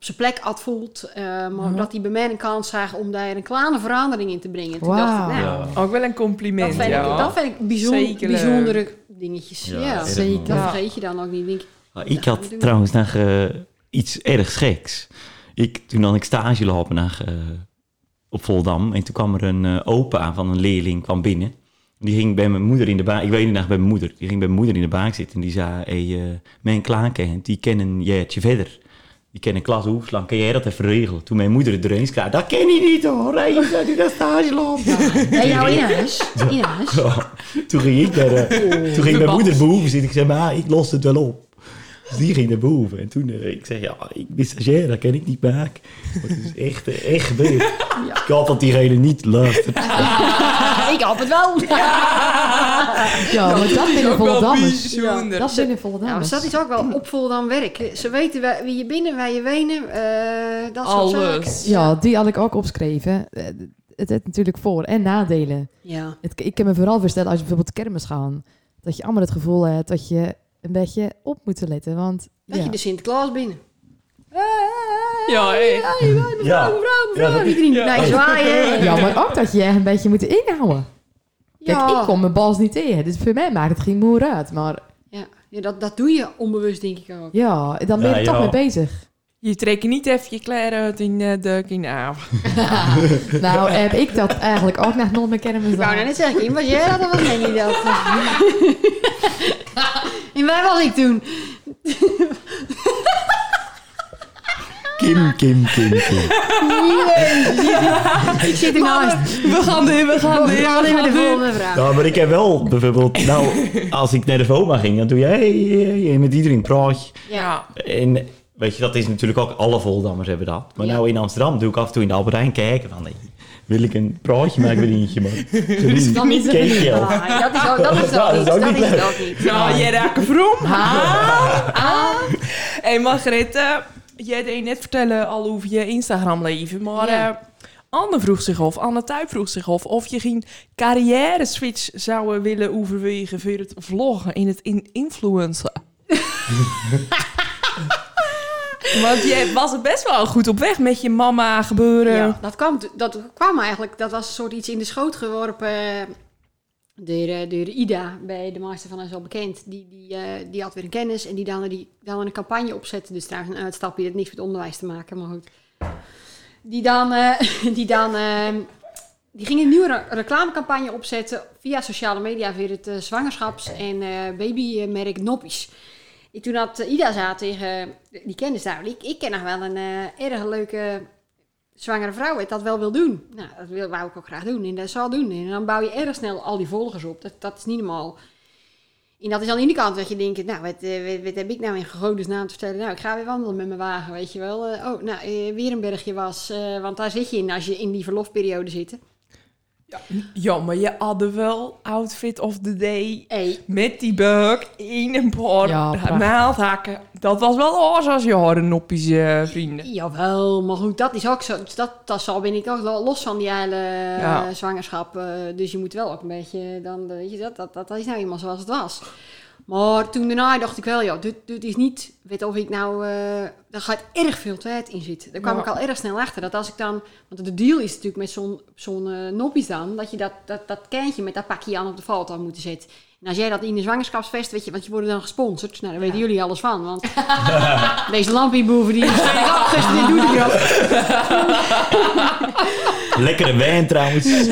E: op zijn plek had voelt. eh, maar
B: Mhm.
A: Ja.
E: dat hij bij mij een kans zag om daar een kleine verandering in te brengen. Toen dacht
B: Wauw.
E: ik, nou,
A: Ook wel een
E: dat
A: compliment.
E: vind,
A: ja.
E: ik, dat vind ik bijzon-
A: Zeker leuk.
E: bijzondere dingetjes.
D: Ja,
E: Ja,
D: erg
B: zeker.
D: mooi.
E: Dat
A: Ja.
E: vergeet je dan ook niet. Denk, ik,
D: Ah, Ik
E: Nou,
D: had
E: doe.
D: trouwens nog eh, iets erg geks. Ik, toen dan ik stage lopen naar eh, op Voldam. En toen kwam er een eh, opa van een leerling kwam binnen. Die ging bij mijn moeder in de baan. Ik weet niet nog bij mijn moeder. Die ging bij mijn moeder in de baan zitten. En die zei: hey, eh Mijn klaarkent, die kennen jaartje verder. Die kennen klas Hoefslang. Kan jij dat even regelen? Toen mijn moeder het er eens kreeg: Dat ken je niet hoor. Hij is uit dat stage loopt.
E: Bij jou in huis. In huis.
D: Ja, toen ging ik naar, eh,
B: Oh.
D: toen ging mijn moeder boven zitten. Ik zei, maar ik los het wel op. Dus die ging naar boven. En toen, eh, ik zei, ja, ik ben stagiair, dat kan ik niet maken. Maar het is echt, eh, echt gebeurd. Ik hoop dat diegene niet luistert.
E: Ik hoop het wel.
A: Oh,
B: Ja, maar dat
A: is
B: zijn de
A: ook wel
B: Volendamers.
A: bijzonder.
B: Dat zijn de
E: Ja, maar
B: Volendamers.
E: Nou, dat is ook wel opvol dan werk. Ze weten waar- wie je binnen, waar je wenen, eh, dat soort
A: Alles.
E: zaken.
B: Ja, die had ik ook opgeschreven. Eh, Het heeft natuurlijk voor- en nadelen.
E: Ja.
B: Het, ik kan me vooral voorstellen als je bijvoorbeeld kermis gaan, dat je allemaal het gevoel hebt dat je een beetje op moet letten. Want
E: Dat
B: ja.
E: je de Sinterklaas binnen.
A: Ja,
E: hey.
A: hey.
E: hey, mevrouw,
D: Ja.
E: mevrouw,
D: Ja,
E: mevrouw.
D: dat-
E: Iedereen
A: Ja.
E: blij zwaaien.
B: ja, maar ook dat je echt een beetje moet inhouden. Kijk, ik kom mijn bals niet tegen, dus voor mij maakt het geen moer uit. Maar
E: Ja, ja dat, dat doe je onbewust, denk ik ook.
B: ja, dan ben je
D: Ja,
B: er toch
D: ja.
B: mee bezig.
A: Je trekt niet even je kleren uit in eh, de kinaaf.
B: Nou, heb ik dat eigenlijk ook nog nooit met kermis
E: Ik wou nou
B: gedaan.
E: net zeggen, Kim, was jij dat of was Manny dat? en waar was ik toen?
D: Kim, Kim, Kim, Kim.
E: Ik zit ernaast.
A: We gaan erin, we gaan
E: We
A: erin,
E: gaan
A: we gaan
E: even naar de
A: erin.
E: volgende vraag.
D: Ja, Nou, maar ik heb wel bijvoorbeeld... Nou, als ik naar de VOMA ging, dan doe je... Hey, hey, hey, met iedereen praat je.
E: Ja.
D: En weet je, dat is natuurlijk ook alle Voldammers hebben dat. Maar
E: Ja.
D: nou in Amsterdam doe ik af en toe in de Albert Heijn kijken van... Hey, wil ik een praatje maken met eentje, man?
B: Dan is het
D: Kijk
B: niet
D: je al.
E: Ah, dat is ook, dat is ook
D: Dat is
E: niet.
D: ook
E: Dat
D: niet
E: is
D: leuk.
E: ook niet.
A: Ja, jij raakt vroom.
B: Ah, ah.
A: Hey Margreet, eh, jij deed net vertellen al over je Instagram-leven, maar
E: Ja.
A: eh, Anne vroeg zich of, Anne Tuip vroeg zich of, of je geen carrière-switch zou eh, willen overwegen voor het vloggen in het in influencer. Want jij was er best wel goed op weg met je mama gebeuren.
E: Ja, dat, kwam, dat kwam eigenlijk, dat was een soort iets in de schoot geworpen eh, door, eh, door Ida, bij de Master van Ons al bekend. Die, die, eh, die had weer een kennis en die dan, die dan een campagne opzette. Dus trouwens een uitstapje, dat heeft niks met onderwijs te maken, maar goed. Die dan, eh, die dan eh, die ging een nieuwe re- reclamecampagne opzetten via sociale media voor het eh, zwangerschaps- en eh, babymerk Noppies. En toen had eh, Ida zei tegen eh, die kennis daar, ik, ik ken nog wel een eh, erg leuke zwangere vrouw het dat wel wil doen. Nou, dat wil, wou ik ook graag doen. En dat zal doen. En dan bouw je erg snel al die volgers op. Dat, dat is niet normaal. En dat is aan de ene kant dat je denkt, nou, wat, eh, wat, wat heb ik nou in godesnaam te vertellen? Nou, ik ga weer wandelen met mijn wagen, weet je wel. Eh, oh, nou, eh, weer een bergje was. eh, want daar zit je in als je in die verlofperiode zit.
A: Ja, maar je had wel outfit of the day
E: Hey,
A: met die buik in een paar
B: Ja, prachtig.
A: naaldhakken. Dat was wel oors als je haren noppies eh, vrienden.
E: jawel, maar goed, dat is ook zo. dus Dat, dat zal ben ik ook lo- los van die hele eh,
A: Ja.
E: zwangerschap. eh, dus je moet wel ook een beetje, dan, eh, weet je, dat, dat, dat is nou eenmaal zoals het was. Maar toen daarna dacht ik wel, ja, dit, dit is niet, weet of ik nou, eh daar gaat erg veel tijd in zitten. Daar kwam
A: Ja.
E: ik al erg snel achter. Dat als ik dan, want de deal is natuurlijk met zo'n zo'n eh, noppies dan, dat je dat, dat, dat kentje met dat pakje aan op de valt aan moeten zetten. En als jij dat in de zwangerschapsvest, weet je, want je wordt dan gesponsord. Nou, daar weten jullie alles van, want deze lampieboeven die is gisteren, die doet het wel.
D: Lekkere wijn trouwens.
E: Ja,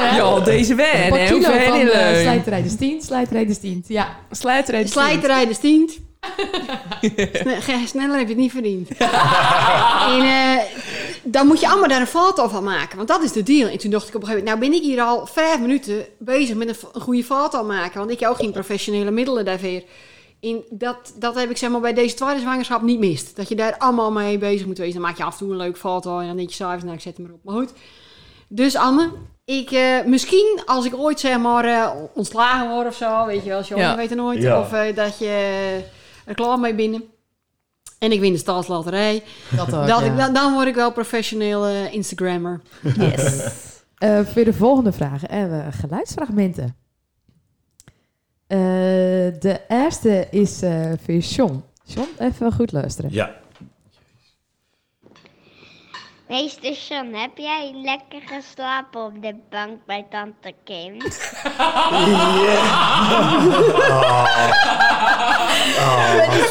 E: hè?
A: Ja, deze
B: Een
A: wijn,
B: paar
A: hè?
B: kilo
A: Hoeveel
B: van
A: heel
B: eh,
A: leuk.
B: slijterijders 10, slijterijders 10. Ja,
A: Slijterij.
E: eh, Slijterij stient. Sne- ge- Sneller heb je het niet verdiend. en eh, dan moet je allemaal daar een foto van maken. Want dat is de deal. En toen dacht ik op een gegeven moment... Nou ben ik hier al vijf minuten bezig met een, fo- een goede foto maken. Want ik heb ook geen professionele middelen daarvoor. En dat, dat heb ik zeg maar, bij deze tweede zwangerschap niet mist. Dat je daar allemaal mee bezig moet wezen. Dan maak je af en toe een leuk foto. En dan denk je s'avonds... Nou, ik zet hem erop. Maar goed. Dus Anne... Ik, eh, misschien als ik ooit zeg maar eh, ontslagen word of zo, weet je wel, John,
A: Ja.
E: je weet het nooit.
D: Ja.
E: Of eh, dat je er klaar mee binnen. En ik win de staatsloterij.
B: dat ook.
E: Dat
B: Oh, ja.
E: ik, dan, dan word ik wel professioneel eh, Instagrammer.
A: Yes.
B: Eh, voor de volgende vraag hebben we geluidsfragmenten. Eh, de eerste is eh voor John. John, even goed luisteren.
D: Ja.
F: Meester Sean, heb jij lekker geslapen op de bank bij tante Kim?
D: Ja.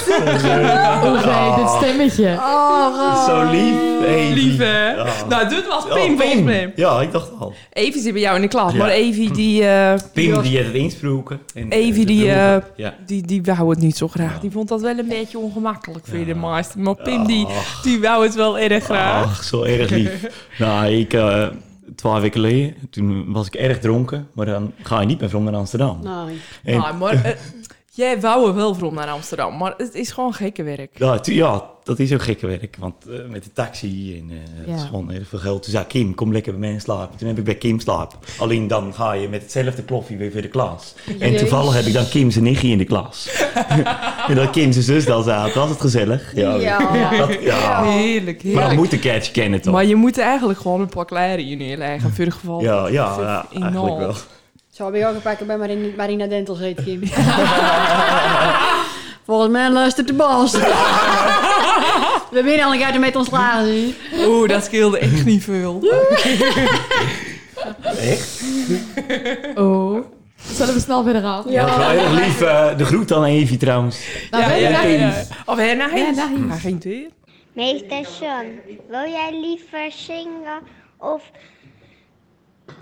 B: Oh, nee, dit stemmetje.
E: Oh,
D: Zo lief, Evie.
A: Lief, hè?
D: Ja.
A: Nou, dit was
D: Oh,
A: Pim, volgens
D: Pim.
A: mij.
D: Ja, ik dacht al.
A: Evie zit bij jou in de klas,
D: Ja. Hm.
A: maar Evie die... eh,
D: Pim
E: was-
D: die had het insproken. En, eh,
A: Evie
D: de
A: die, eh,
D: broer. ja.
A: die, die wou het niet zo graag.
D: Ja.
A: Die vond dat wel een beetje ongemakkelijk voor
D: Ja.
A: de meester. Maar Pim, die,
D: Ach.
A: die wou het wel erg graag.
D: Ach, zo erg lief. nou, ik, eh twaalf weken geleden, toen was ik erg dronken. Maar dan ga je niet meer van naar Amsterdam.
E: nee.
D: En-
A: Nou, maar eh, jij wou er wel van naar Amsterdam, maar het is gewoon gekke werk.
D: Ja, tu- ja, dat is ook gekke werk. Want eh, met de taxi en eh
B: Ja.
D: het is gewoon heel veel geld. Toen zei ik, Kim, kom lekker bij mij slapen. Toen heb ik bij Kim slapen. Alleen dan ga je met hetzelfde kloffie weer voor de klas. En
E: Jezus.
D: toevallig heb ik dan Kim zijn nichtje in de klas. en dat Kim zijn zus dan zat, was het gezellig. Oh, Ja.
E: Ja.
D: Dat,
A: Heerlijk,
D: ja. Maar
A: heerlijk.
D: dan
A: Maar,
D: moet de catch kennen toch?
A: je moet eigenlijk gewoon een pak leren hier neerleggen, voor het geval.
D: Ja,
A: dat-
D: ja,
A: dat-
D: ja,
A: in
D: eigenlijk
A: Noord.
D: wel.
E: Zo heb ik ook een paar keer bij Marina, Marina Dental zitten, Kim. Volgens mij luistert de baas. We winnen al een keer met ons lazen.
A: Oeh, dat scheelde echt niet veel.
D: Echt?
B: Oh. Zullen we snel verder gaan?
D: Ja, wel heel lief. eh, de groet aan Evie trouwens.
B: Nou,
A: Ja,
B: weet
A: ja,
B: je-
A: ja. Of Henna
B: Ja,
A: Heinz.
B: daar heen.
A: Hij ging weer.
F: Meester John, wil jij liever zingen of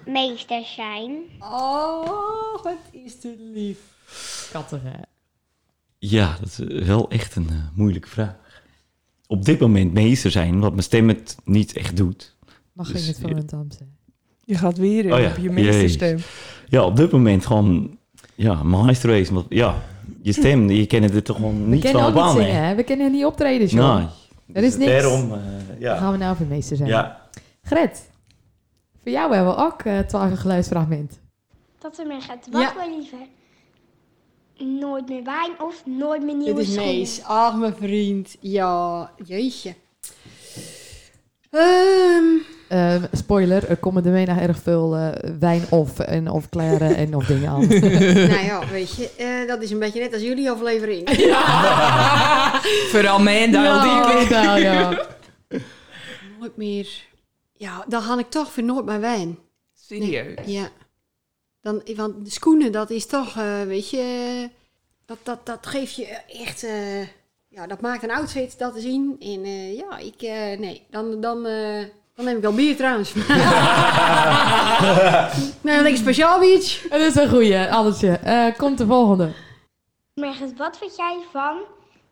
F: meester zijn?
E: Oh, wat is dit lief.
B: Kattig, hè?
D: Ja, dat is wel echt een eh, moeilijke vraag. Op dit moment meester zijn, wat mijn stem het niet echt doet.
B: Mag
D: Dus-
B: ik het van een dam zijn?
A: Je gaat weer in
D: Oh ja,
A: op je
D: jezus.
A: meesterstem.
D: Ja, op dit moment gewoon, ja, maestro is. Want ja, je stem, je kent er toch gewoon
B: We
D: niet
B: kennen
D: van
B: ook
D: op
B: niet
D: aan. hè? Nou.
B: zingen, hè? We kennen niet optreden, joh.
D: Nee.
B: Er is niks.
D: Daarom, eh,
B: Dan
D: ja.
B: gaan we nou voor meester zijn.
D: ja.
B: Gret, voor jou hebben we ook eh, 12 een geluidsfragment.
F: Dat er meer gaat.
E: Wat Ja.
F: wil liever? Nooit meer wijn of nooit meer
E: Dit is Mees. Ach, mijn vriend. Ja, jeetje. Ehm,
B: Ehm, spoiler, er komen de mena erg veel eh, wijn of, en, of kleren en of dingen aan.
E: nou ja, weet je, eh, dat is een beetje net als jullie aflevering.
A: Vooral mij en
B: Ja,
A: Daaldiek.
B: nou, ja.
E: Nooit meer. Ja, dan ga ik toch voor nooit mijn wijn.
A: Serieus.
E: Ja. Dan, want de schoenen, dat is toch, eh, weet je, eh, dat, dat, dat geeft je echt, eh, ja, dat maakt een outfit, dat te zien. En eh, ja, ik, eh, nee, dan, dan, eh, dan neem ik wel bier trouwens. nee, dan denk ik speciaal biertje.
B: Dat is een goeie, Annetje. Eh, komt de volgende.
F: Mergens, wat vind jij van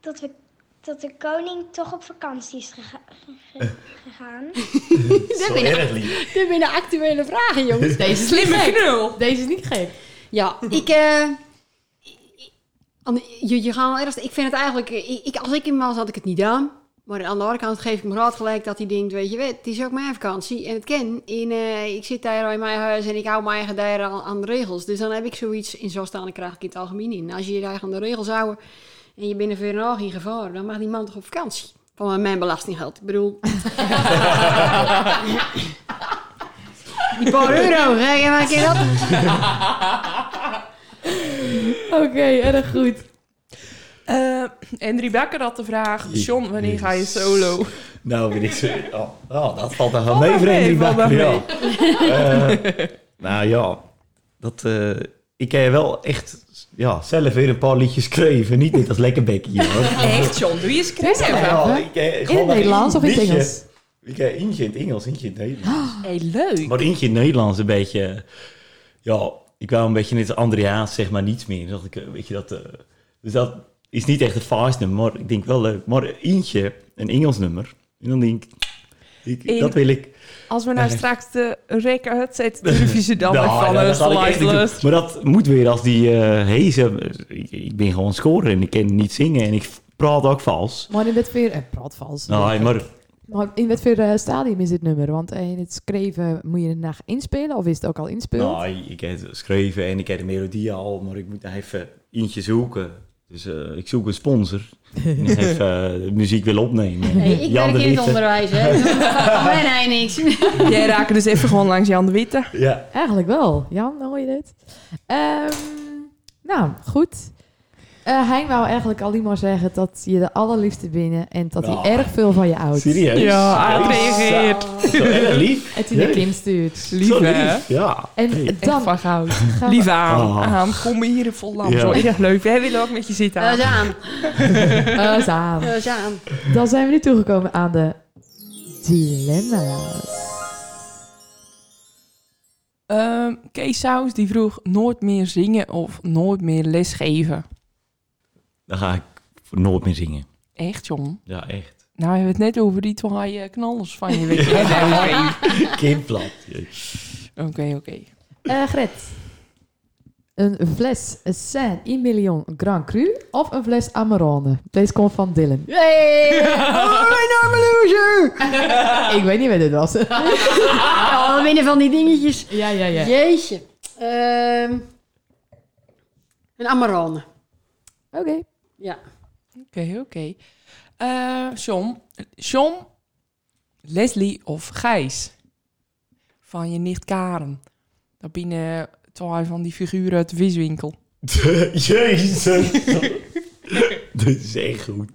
F: dat, we, dat de koning toch op vakantie is gega-
E: Eh.
F: ge- gegaan?
D: Zo erg lief.
E: Dit zijn de actuele vragen, jongens.
B: Deze is niet
A: Slimme
B: gek.
A: knul.
B: Deze is niet gek.
E: Ja, ik. eh, aan de- je, je gaat wel ergens. Ik vind het eigenlijk. eh, Ik, ik- als ik hem was, had ik het niet gedaan. Maar aan de andere kant geef ik me raad gelijk dat hij denkt: Weet je, wat, het is ook mijn vakantie en het ken. En eh, ik zit daar in mijn huis en ik hou mijn eigen daar aan, aan de regels. Dus dan heb ik zoiets. In zo staan krijg ik in het algemeen in. Als je je eigen aan de regels houdt en je bent er voor een oog in gevaar, dan mag die man toch op vakantie. Van mijn belastinggeld. Ik bedoel. die paar euro, hè? Ja, maar ik ken dat.
B: Oké, erg goed.
A: Eh en Rebecca had de vraag, John, wanneer ga je solo?
D: Nou, ben ik zo... Oh, oh, dat valt dan wel
A: Valt
D: mee,
A: wel mee,
D: vreemd.
A: valt
D: die
A: wel
D: bakker, ja. Eh, nou ja, dat... eh, ik heb wel echt ja, zelf weer een paar liedjes geschreven. Niet net als lekker bekkie, hoor.
A: Echt, John, doe je
B: Deze
A: schrijven.
B: hebben
D: Ja,
B: we.
D: ik, eh,
B: In
D: gewoon
B: het
D: maar
B: Nederlands
D: één
B: of in het
D: liedje.
B: Engels?
D: Ik heb eentje in het Engels, eentje in het Nederlands.
A: Hey, leuk.
D: Maar eentje in het Nederlands een beetje... eh, Ja, ik wou een beetje net als Andrea's, zeg maar, niets meer. Dus dat ik, eh, weet je, dat... eh, dus dat is niet echt een fast nummer, maar ik denk wel leuk. Maar eentje, een Engels nummer. En dan denk ik... ik
A: In-
D: dat wil ik...
A: Als we nou
D: Nee.
A: straks de rekker het zet, durf je ze dan
D: Nou,
A: weer van
D: ja, dat
A: ons
D: had ik echt niet
A: lijstlust.
D: doen. Maar dat moet weer als die eh hezen... Ik, ik ben gewoon scoren en ik kan niet zingen en ik praat ook vals.
B: Maar in wat voor... Eh, praat vals.
D: Nee, Nou, maar
B: Maar in wat voor eh, stadium is dit nummer? Want eh, in het schreven moet je het nog inspelen of is het ook al inspeeld?
D: nee, nou, ik heb het geschreven en ik heb de melodie al, maar ik moet nog even eentje zoeken. Dus eh, ik zoek een sponsor. en ik even eh, de muziek wil opnemen.
E: Nee, ik
D: Jan
E: werk
D: de
E: in het
D: Witte.
E: onderwijs, hè. Van mij nee, niks.
A: Jij raakt dus even gewoon langs Jan de Witte.
D: Ja.
B: Eigenlijk wel. Jan, hoor je dit? Ehm, nou, goed. Eh, hij wou eigenlijk alleen maar zeggen dat je de allerliefste binnen en dat
D: Oh.
B: hij erg veel van je houdt.
D: Serieus?
A: Ja, hij
D: Jezus.
A: reageert.
D: Zo erg lief.
B: En die naar
D: Jezus.
B: Kim stuurt.
D: Zo
A: Lief, hè?
D: lief, Ja.
B: En
A: Echt
B: dan
A: van goud.
B: gaan we-
A: Lief aan.
D: Ah.
A: Aan, kom hier in Volendam.
D: Ja.
A: Zo erg leuk. Wij willen ook met je zitten.
E: Eh,
A: Aan.
E: Zaan.
B: Eh, Zaan.
E: Eh, Zaan.
B: Dan zijn we nu toegekomen aan de dilemma's.
A: Ehm, Kees Saus die vroeg nooit meer zingen of nooit meer lesgeven.
D: Dan ga ik voor nooit meer zingen.
A: Echt, John.
D: Ja, echt.
A: Nou, we hebben het net over die twee eh, knallers van je. weet je. Oké,
D: Kindplat. Jezus.
A: Oké, oké.
B: Eh, Gret. Een fles Saint-Emilion Grand Cru of een fles Amarone? Deze komt van Dylan.
E: Hey! Oh, mijn arme loser!
B: Ik weet niet wie dit was.
E: Oh, winnen van die dingetjes.
B: ja, ja, ja.
E: Jeetje. Ehm, een Amarone.
B: Oké.
E: Ja.
A: Oké, oké. Eh, John. John, Leslie of Gijs? Van je nicht Karen. Dat binnen twee van die figuren uit de viswinkel.
D: Jezus. Dat is echt goed.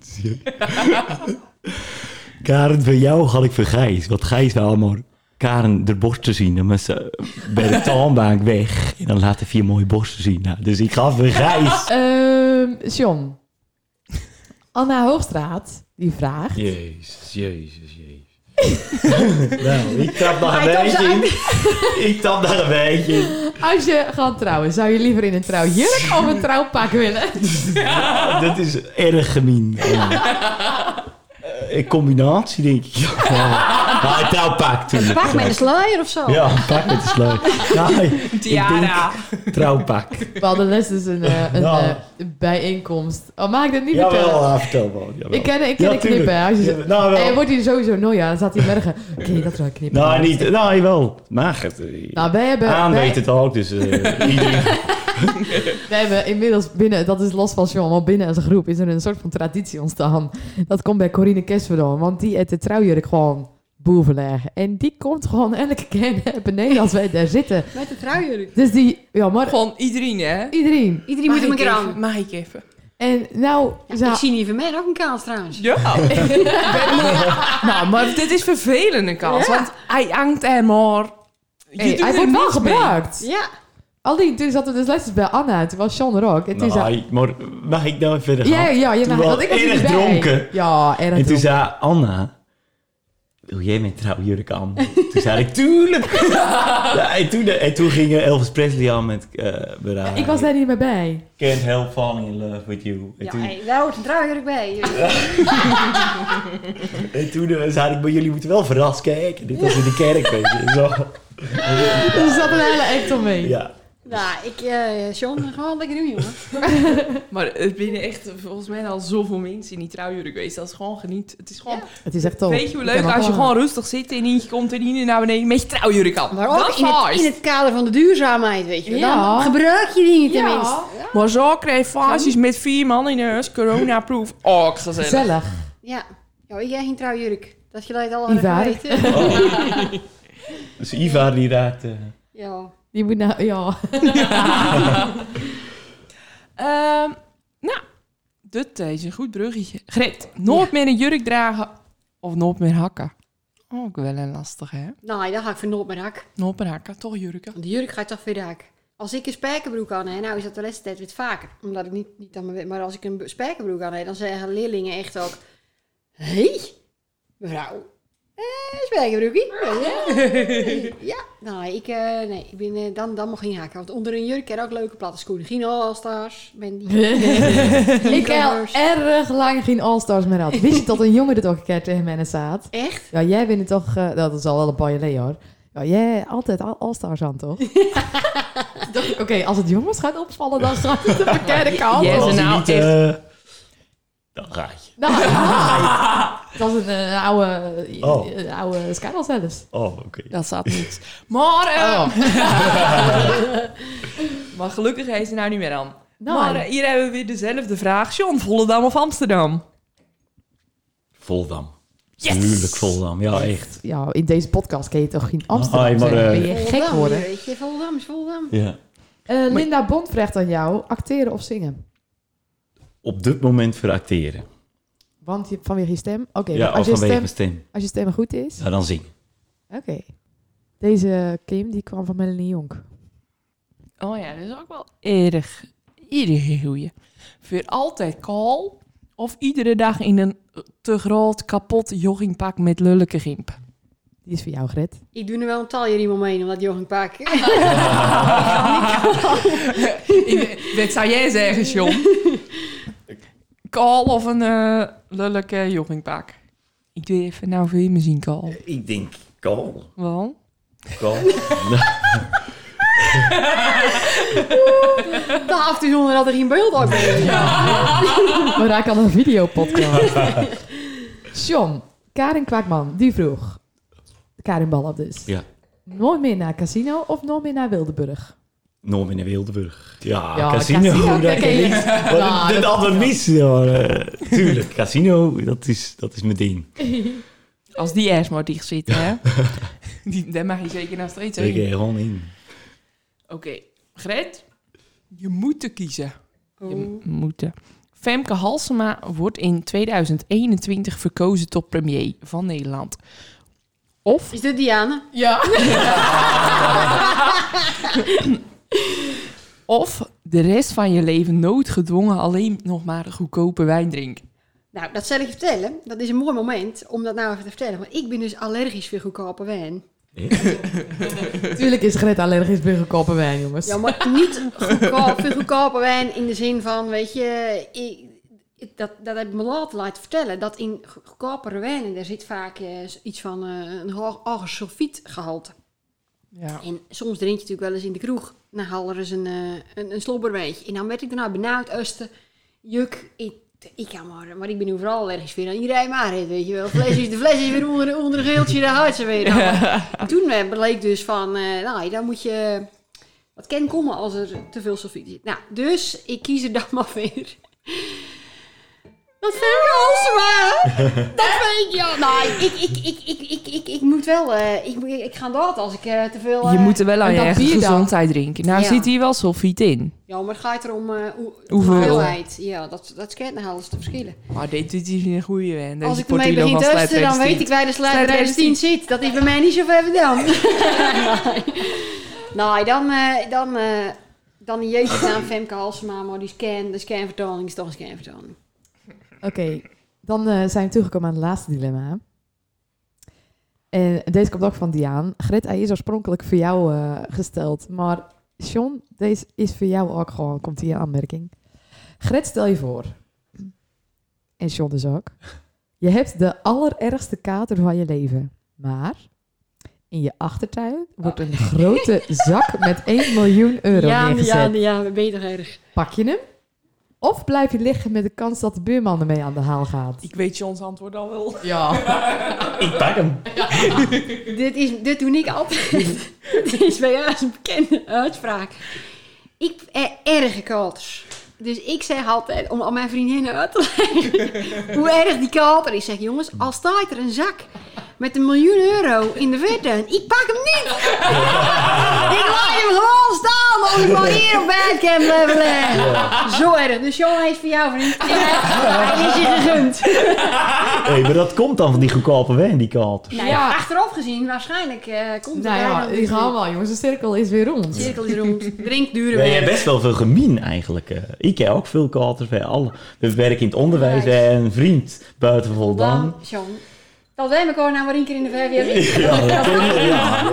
D: Karen, bij jou ga ik voor Gijs. Want Gijs wel allemaal Karen de borsten zien. Dan moet ze bij de toonbank weg. En dan laat hij vier mooie borsten zien. Nou, dus ik ga voor Gijs.
B: Ehm, John. Anna Hoogstraat, die vraagt...
D: Jezus, jezus, jezus. nou, ik tap nog een
E: Hij tapt
D: beetje in. Ik tap nog een beetje in.
B: Als je gaat trouwen, zou je liever in een trouwjurk of een trouwpak willen?
D: Dat is erg gemeen. Eh, Een combinatie, denk ik. Ja. Maar een trouwpak toen.
E: Pak met een sluier of zo.
D: Ja, een pak met de sluit. Ja, ik
A: Tiara.
D: denk Trouwpak.
B: We hadden les dus een, eh, een
D: Ja.
B: eh, bijeenkomst. Oh, mag ik dat niet vertellen?
D: Jawel, ja, vertel wel. Jawel.
B: Ik ken, ik ken
D: Ja,
B: de knippen.
D: tuurlijk.
B: hè, Als je
D: Ja,
B: zegt-
D: nou,
B: en
D: wel.
B: wordt hij sowieso nooit aan. Dan staat hij morgen. Ken je dat wel knippen?
D: Nou, niet. Nou, wel. Mag het. eh,
B: Nou, wij hebben,
D: Aan
B: wij-
D: weet het ook, dus eh, iedereen.
B: wij hebben inmiddels binnen, dat is los van John, maar binnen onze groep is er een soort van traditie ontstaan. Dat komt bij Corine Kesselon, want die eet de trouwjurk gewoon boven leggen. En die komt gewoon elke keer beneden als wij daar zitten.
E: Met de truier.
B: Dus die, ja, maar
A: Gewoon iedereen, hè?
B: iedereen.
E: Iedereen moet hem een keer aan.
A: Mag ik even?
B: En nou,
E: Ik
B: za-
E: zie niet van mij ook een kans trouwens.
A: Ja. nou, maar dit is vervelende kans, want hij hangt er maar. Je
B: hey,
A: doet
B: hij
A: er
B: wordt wel
A: niks mee.
B: gebruikt.
E: Ja.
B: Alleen, toen zaten we dus lessen bij Anna, toen was John er ook. En toen zei-
D: Nou, maar mag ik nou verder gaan?
B: Ja, ja, je
D: Toen
B: mag-
D: was
B: want ik was er
D: erg
B: niet bij.
D: dronken.
B: Ja, erg
D: En toen
B: dronken.
D: zei Anna, wil jij mijn trouwjurk aan? Toen zei ik, tuurlijk! ja, en, toen, en toen ging Elvis Presley aan met eh Beraad.
B: Ik was daar niet meer bij.
D: Can't help falling in love with you. En
E: Ja,
D: toen,
E: hey, daar hoort een truier bij.
D: en toen eh, zei ik, maar jullie moeten wel verrast kijken. Dit was in de kerk, weet je. Zo.
B: Dus er zat een hele act om mee.
D: Ja.
E: Nou, ik, eh John, gewoon lekker doen, jongen.
A: Maar het binnen echt volgens mij al zoveel mensen in die trouwjurk geweest. Dat is gewoon geniet. Het is gewoon,
B: Het is echt tof.
A: weet je hoe
B: Ik
A: leuk
B: heb
A: als je
B: al-
A: gewoon rustig zit en eentje komt en iemand naar beneden met je trouwjurk aan.
E: Maar
A: Dat
E: ook
A: is
E: in het,
A: nice.
E: in het kader van de duurzaamheid, weet je. wel.
B: Ja.
E: Dan gebruik je die niet
B: Ja.
E: tenminste.
A: Maar zo krijg je fases met vier man in huis, corona-proof. Oh, Ook gezellig.
B: Gezellig.
E: Ja. Ja, ik jij geen trouwjurk. Dat geluid al
B: Ivar.
E: even weten.
D: Dus Ivar die raakte...
E: Ja.
B: Je moet nou, ja.
A: Ehm, nou, dit is een goed bruggetje. Gret, nooit meer een jurk dragen of nooit meer hakken. Oh, Ook wel een lastige, hè?
E: Nou, dan ga ik voor nooit meer raak.
A: Nooit meer hakken, toch jurken.
E: Want de jurk gaat toch weer raak. Als ik een spijkerbroek aan heb, nou is dat de laatste tijd wat vaker. Omdat ik niet, niet aan mijn... Maar als ik een spijkerbroek aan heb, dan zeggen leerlingen echt ook... Hé, hey, mevrouw. Eh, spijkerbroekje.
B: Oh,
E: Ja. ja, nou, ik, eh, nee, ik ben, eh, dan, dan mag geen haken. Want onder een jurk heb je ook leuke platte schoenen. Geen all-stars. Ben die...
B: ik heb erg lang geen All-Stars meer had. Wist je dat een jongen dit ook een keer tegen mij staat?
E: Echt?
B: Ja, jij bent het toch... eh, dat is al wel een paar jaar geleden, hoor. Ja, jij altijd al- All-Stars aan, toch? Toen dacht ik, Oké, als het jongens gaat opvallen, dan gaat het de verkeerde kant
A: Yes,
B: op.
D: Als hij
A: nou
D: niet,
A: echt.
D: eh, dan ga je.
B: Nou, ja. Het was een, eh, oude,
D: Oh.
B: een oude Skydal zelfs.
D: Oh, oké.
A: Dat staat niets. Maar, ehm, maar gelukkig is ze nou niet meer aan.
B: Nou,
A: Maar eh, hier hebben we weer dezelfde vraag. John, Volendam of Amsterdam?
D: Voldam.
A: Yes!
D: Tuurlijk Voldam, ja echt.
B: ja, in deze podcast ken je toch geen Amsterdam
D: Hoi, maar,
B: zeggen?
D: eh,
B: Ben je gek
E: Volendam,
B: geworden?
E: Weet je, Volendam is Volendam.
D: Ja.
B: Eh, Linda Bond vraagt aan jou, acteren of zingen?
D: op dit moment voor acteren.
B: Want je, vanwege je stem? Oké,
D: ja,
B: als,
D: of
B: je
D: vanwege
B: stem,
D: mijn stem.
B: als je stem goed is?
D: Ja, dan zing.
B: Oké. Deze Kim, die kwam van Melanie Jonk.
A: Oh ja, dat is ook wel erg, erg goeie. Voor altijd kaal of iedere dag in een te groot kapot joggingpak met lullige gimp.
B: Die is voor jou, Gret.
E: Ik doe nu wel een talje riem omheen, omdat Johan Paak...
A: Wat zou jij zeggen, John? Kaal of een eh, lullige joggingpak? Ik doe even, nou wil je me zien, kaal.
D: Ik denk, kool.
A: Wel?
D: Kool.
E: de aftuurzonden had er geen beeld op.
B: We raken al een videopodcast. John, Karin Kwaakman, die vroeg. Karin Ballop dus.
D: Ja.
B: Nooit meer naar Casino of nooit meer naar Wildeburg?
D: Norm in Wildeburg. Ja,
B: Ja,
D: casino.
B: casino,
D: dat
B: dat
D: kan
B: ken je.
D: niet. Wat
B: Ja,
D: dit
B: dat
D: altijd mis. Ja, eh, tuurlijk, casino, dat is, dat is mijn ding.
A: Als die ergens maar dicht zit, hè? Die, daar mag je zeker naar steeds
D: Daar
A: heen.
D: ga je
A: Oké,
D: gewoon in.
A: Gret, je moet te kiezen. Je m- moeten. Femke Halsema wordt in 2021 verkozen tot premier van Nederland. Of
E: Is dit Diane?
A: Of de rest van je leven noodgedwongen alleen nog maar goedkope wijn drinken.
E: Nou, dat zal ik je vertellen. Dat is een mooi moment om dat nou even te vertellen. Want ik ben dus allergisch voor goedkope wijn.
B: Natuurlijk is Gret allergisch bij goedkope wijn, jongens.
E: Ja, maar niet goedkoop, voor goedkope wijn in de zin van, weet je... Ik, ik- dat, dat heb ik me later laten vertellen. Dat in go- goedkopere wijnen, daar zit vaak eh, iets van eh, een hoog hoger sulfietgehalte.
A: Ja.
E: En soms drink je natuurlijk wel eens in de kroeg. Dan halen er eens een, eh een, een slobberwijntje. En dan werd ik daarna benauwd, Usten. Juk, ik, ik kan maar, maar ik ben overal ergens weer. Iedereen maar het, weet je wel. Fles is, de fles is weer onder, onder een geeltje, daar houdt ze weer. Nou, maar toen eh, bleek dus van, eh nou, dan moet je... Wat kan komen als er te veel sulfiet zit. Nou, dus ik kies er dan maar weer. Dat vind ik maar. Dat weet je. Nou, ik, ik, ik, ik, ik, ik, ik moet wel. eh, ik, moet- ik ga dat als ik eh, te veel.
A: je
E: eh,
A: moet er wel aan
B: en
A: je
B: dat
A: eigen
B: bier dan?
A: gezondheid drinken. Nou
E: Ja.
A: zit hier wel sulfiet in.
E: Ja, maar het gaat er om eh, hoe-
A: Hoeveel?
E: hoeveelheid. Ja, dat, dat kent nou alles te verschillen.
A: Maar dit, dit is een goede wijn. Deze
E: Als ik ermee
A: Portillo
E: begin
A: van
E: te husten, dan
A: Slijpwerksteam.
E: weet ik waar de slijterij 10
A: Slijterij
E: zit. Dat is bij mij niet zo ver vandaan. Nee. nou, dan, eh dan, eh dan in jezus naam Femke Halsema, maar die scan, de scanvertoning is toch een scanvertoning.
B: Oké, dan eh, zijn we toegekomen aan het laatste dilemma. En deze komt ook van Diaan. Gret, hij is oorspronkelijk voor jou eh, gesteld. Maar John, deze is voor jou ook gewoon, komt hier in aanmerking. Gret, stel je voor. En John dus ook. Je hebt de allerergste kater van je leven. Maar in je achtertuin wordt een grote zak met 1 miljoen euro
E: ja,
B: neergezet.
E: ja, ja, we beter erg.
B: Pak je hem? Of blijf je liggen met de kans dat de buurman ermee aan de haal gaat?
G: Ik weet Johns antwoord al wel.
B: Ja.
D: Ik pak hem.
E: Dit, is, dit doe ik altijd. dit is bij jou een bekende uitspraak. Ik eh, erger katers. Dus ik zeg altijd, om aan mijn vriendinnen uit te leggen, hoe erg die kater is. Zeg, jongens, al staat er een zak met een miljoen euro in de vertuin, ik pak hem niet. ik laat hem gewoon staan, of ik maar hier op Bandcamp levelen. Zo erg. Dus John, hij is voor jou, vriend. Hij is je gegund.
D: Hey, maar dat komt dan van die goedkope wijn, die kalters.
E: Nou,
B: Ja.
E: Achteraf gezien, waarschijnlijk eh, komt
B: Nou
E: er
B: ja,
E: bijna
B: die gaan wel, jongens. De cirkel is weer rond.
E: Cirkel is rond. Drink dure
D: Wij
E: wijn.
D: hebben best wel veel gemien eigenlijk. eh. Ik heb ook veel kalters bij alle. We werken in het onderwijs
E: Nice.
D: en een vriend buiten Voldaan.
E: Dan, John. Dat wij elkaar nou maar één keer in de vijf jaar zien.
D: Ja, dat ken je. Ja,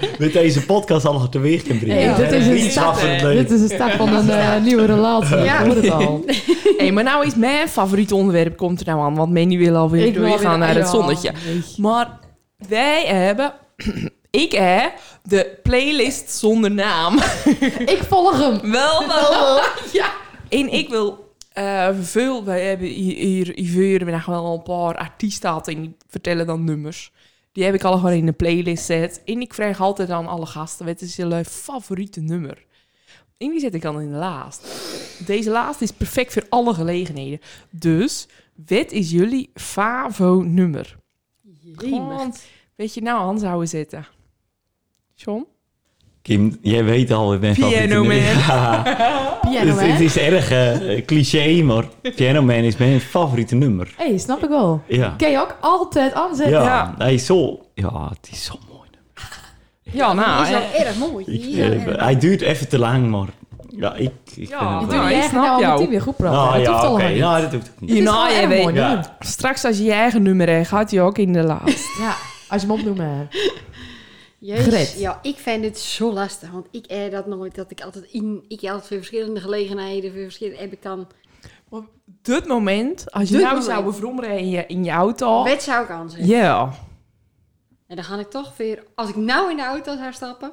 D: weet- met deze podcast al teweeg te brengen.
B: Hey, dit is een
D: Iets
B: stap,
D: afgerond
B: hè. Dit
D: leven.
B: is een stap van een eh, nieuwe relatie.
E: Ja.
B: Ik hoor het al.
A: Hey, maar nou is mijn favoriete onderwerp komt er nou aan. Want Manny wil alweer
B: Ik wil
A: doorgaan
B: weer-
A: naar het
B: ja.
A: zonnetje. Maar wij hebben... ik hè, de playlist zonder naam.
B: Ik volg hem.
A: Wel, wel, wel. ja. En ik wil eh, veel... Wij hebben hier, hier in Veurenberg wel een paar artiesten gehad en die vertellen dan nummers. Die heb ik al gewoon in de playlist zet. En ik vraag altijd aan alle gasten, wat is jullie favoriete nummer? En die zet ik dan in de laatst. Deze laatste is perfect voor alle gelegenheden. Dus, wat is jullie favo-nummer? Gewoon, weet je, nou aan zouden zetten. John?
D: Kim, jij weet al, ik ben
A: Piano Man.
D: Man.
B: Piano,
D: het, het
B: hè?
D: is erg eh, cliché, maar Piano Man is mijn favoriete nummer.
B: Hé, hey, snap ik wel.
D: Ja.
B: Ken je ook altijd aanzetten.
D: Ja,
A: Ja.
D: hij is zo... Ja, het is zo mooi.
A: Ja, nou,
E: is wel
A: eh,
E: erg mooi.
D: Ik,
E: Ja,
D: eh,
E: erg mooi.
D: hij duurt even te lang, maar... Ja, ik... ik
C: Ja, het
B: Dat
D: vind het wel-
B: doe
A: Nou,
B: jij
A: ik snap
B: nou
A: jou.
B: meteen weer goed praten.
D: Nou,
B: dat hoeft
D: ja,
B: allemaal
D: oké.
B: niet.
D: Ja, dat hoeft ook
B: Het
D: niet.
B: is
A: hierna,
B: gewoon
A: je
B: erg
A: weet.
B: mooi
D: Ja.
B: nummer.
A: Straks als je je eigen nummer hebt, gaat hij ook in de laatste.
B: Ja, als je hem opnoemen hebt.
E: Jezus,
B: Gret.
E: Ja, ik vind het zo lastig. Want ik eer dat nooit. Dat ik altijd in... Ik heb altijd voor verschillende gelegenheden. Voor verschillende... Heb ik dan...
A: Dit moment, als je
E: Dit
A: nou
E: moment.
A: zou bevrommeren in je, in je auto. Oh. Ja.
E: Wet zou ik aan zeggen. En dan ga ik toch weer... Als ik nou in de auto zou stappen...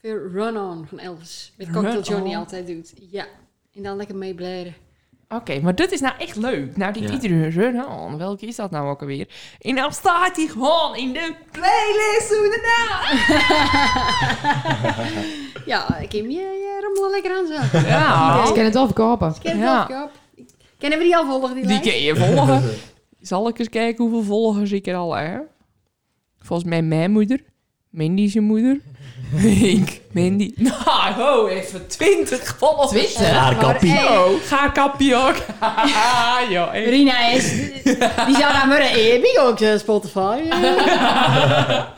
E: Weer Run On van Elvis. Met Cocktail
A: Run
E: Johnny
A: On.
E: altijd doet. Ja. En dan lekker meeblaren.
A: Oké, maar dit is nou echt leuk. Nou, die
D: Ja.
A: iedereen run on. Welke is dat nou ook alweer? En dan staat hij gewoon in de playlist. hoe dan ook.
E: Ja, Kim, je, je rommel lekker aan zo.
A: Ja,
B: Ze kennen het wel verkopen.
E: Ken
A: Ja.
E: ja. op. Kennen we die al volgen, die,
A: die
E: lijst?
A: kun je volgen. Zal ik eens kijken hoeveel volgers ik er al heb? Volgens mij mijn moeder. Mindy zijn moeder. ik, Mindy. Nou, ho, even 20 volgers.
D: Haar kappie.
A: Oh, ga kappie ook. ja, echt.
E: Rina is... Die zou naar mijn heb ook eh, Spotify. eh. Ja.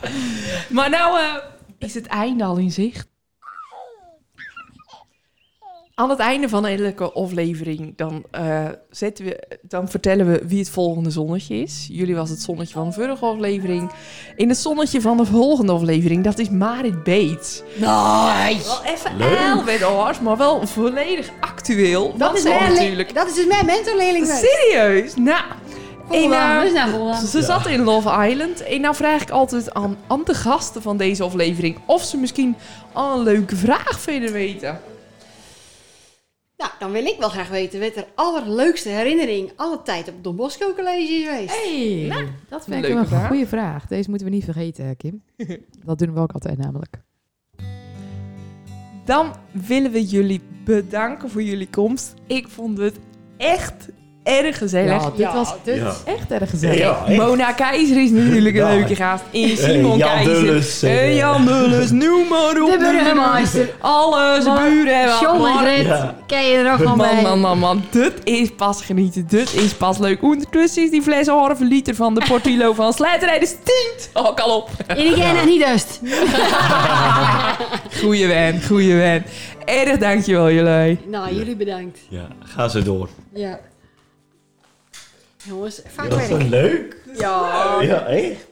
A: Maar nou eh, is het einde al in zicht. Aan het einde van elke aflevering dan, eh, zetten we, dan vertellen we wie het volgende zonnetje is. Jullie was het zonnetje van de vorige aflevering. In het zonnetje van de volgende aflevering, dat is Marit Beets.
E: Nee.
A: Wel even
D: Leuk.
A: eil met hoor, maar wel volledig actueel.
E: Dat is,
A: wel
E: mijn,
A: natuurlijk.
E: le- dat is dus mijn mentorleerling. geweest.
A: Serieus? Nou, en, eh,
E: Volendam, dus naar Volendam.
A: ze zat in Love Island. En nou vraag ik altijd aan, aan de gasten van deze aflevering of ze misschien al een leuke vraag vinden weten.
E: Nou, dan wil ik wel graag weten wat er allerleukste herinnering alle tijd op het Don Bosco College is geweest.
B: Hey, Nou, dat vind
A: leuke
B: ik wel een
A: vraag.
B: goede vraag. Deze moeten we niet vergeten, Kim. Dat doen we ook altijd namelijk.
A: Dan willen we jullie bedanken voor jullie komst. Ik vond het echt erg gezellig.
B: Ja, dit was dit
D: Ja.
B: is echt erg
D: Ja,
B: gezellig.
D: ja, echt.
A: Mona Keizer is natuurlijk een
D: Ja.
A: leuke gast. En Simon
D: Jan
A: Keizer.
D: Dulles, eh,
A: En Jan Dulles, noem maar op.
E: De burgemeester.
A: Alle zijn
E: Maar-
A: buren. hebben
E: John en
A: allemaal-
E: Gret,
D: Ja.
E: ken je er ook al
A: Man,
E: bij?
A: man, man, man. Dit is pas genieten. Dit is pas leuk. Ondertussen is die fles een halve liter van de Portillo van Slijterij. Dus tient ook al op.
E: En ik ken er niet dus. dust.
A: Goeie wen, goeie wen. Erg dankjewel jullie.
E: Nou, jullie bedankt.
D: Ja, ga ze door.
E: Ja. Jongens, vaak
D: Dat is
E: werk.
D: toch leuk?
E: Ja.
D: Ja, echt.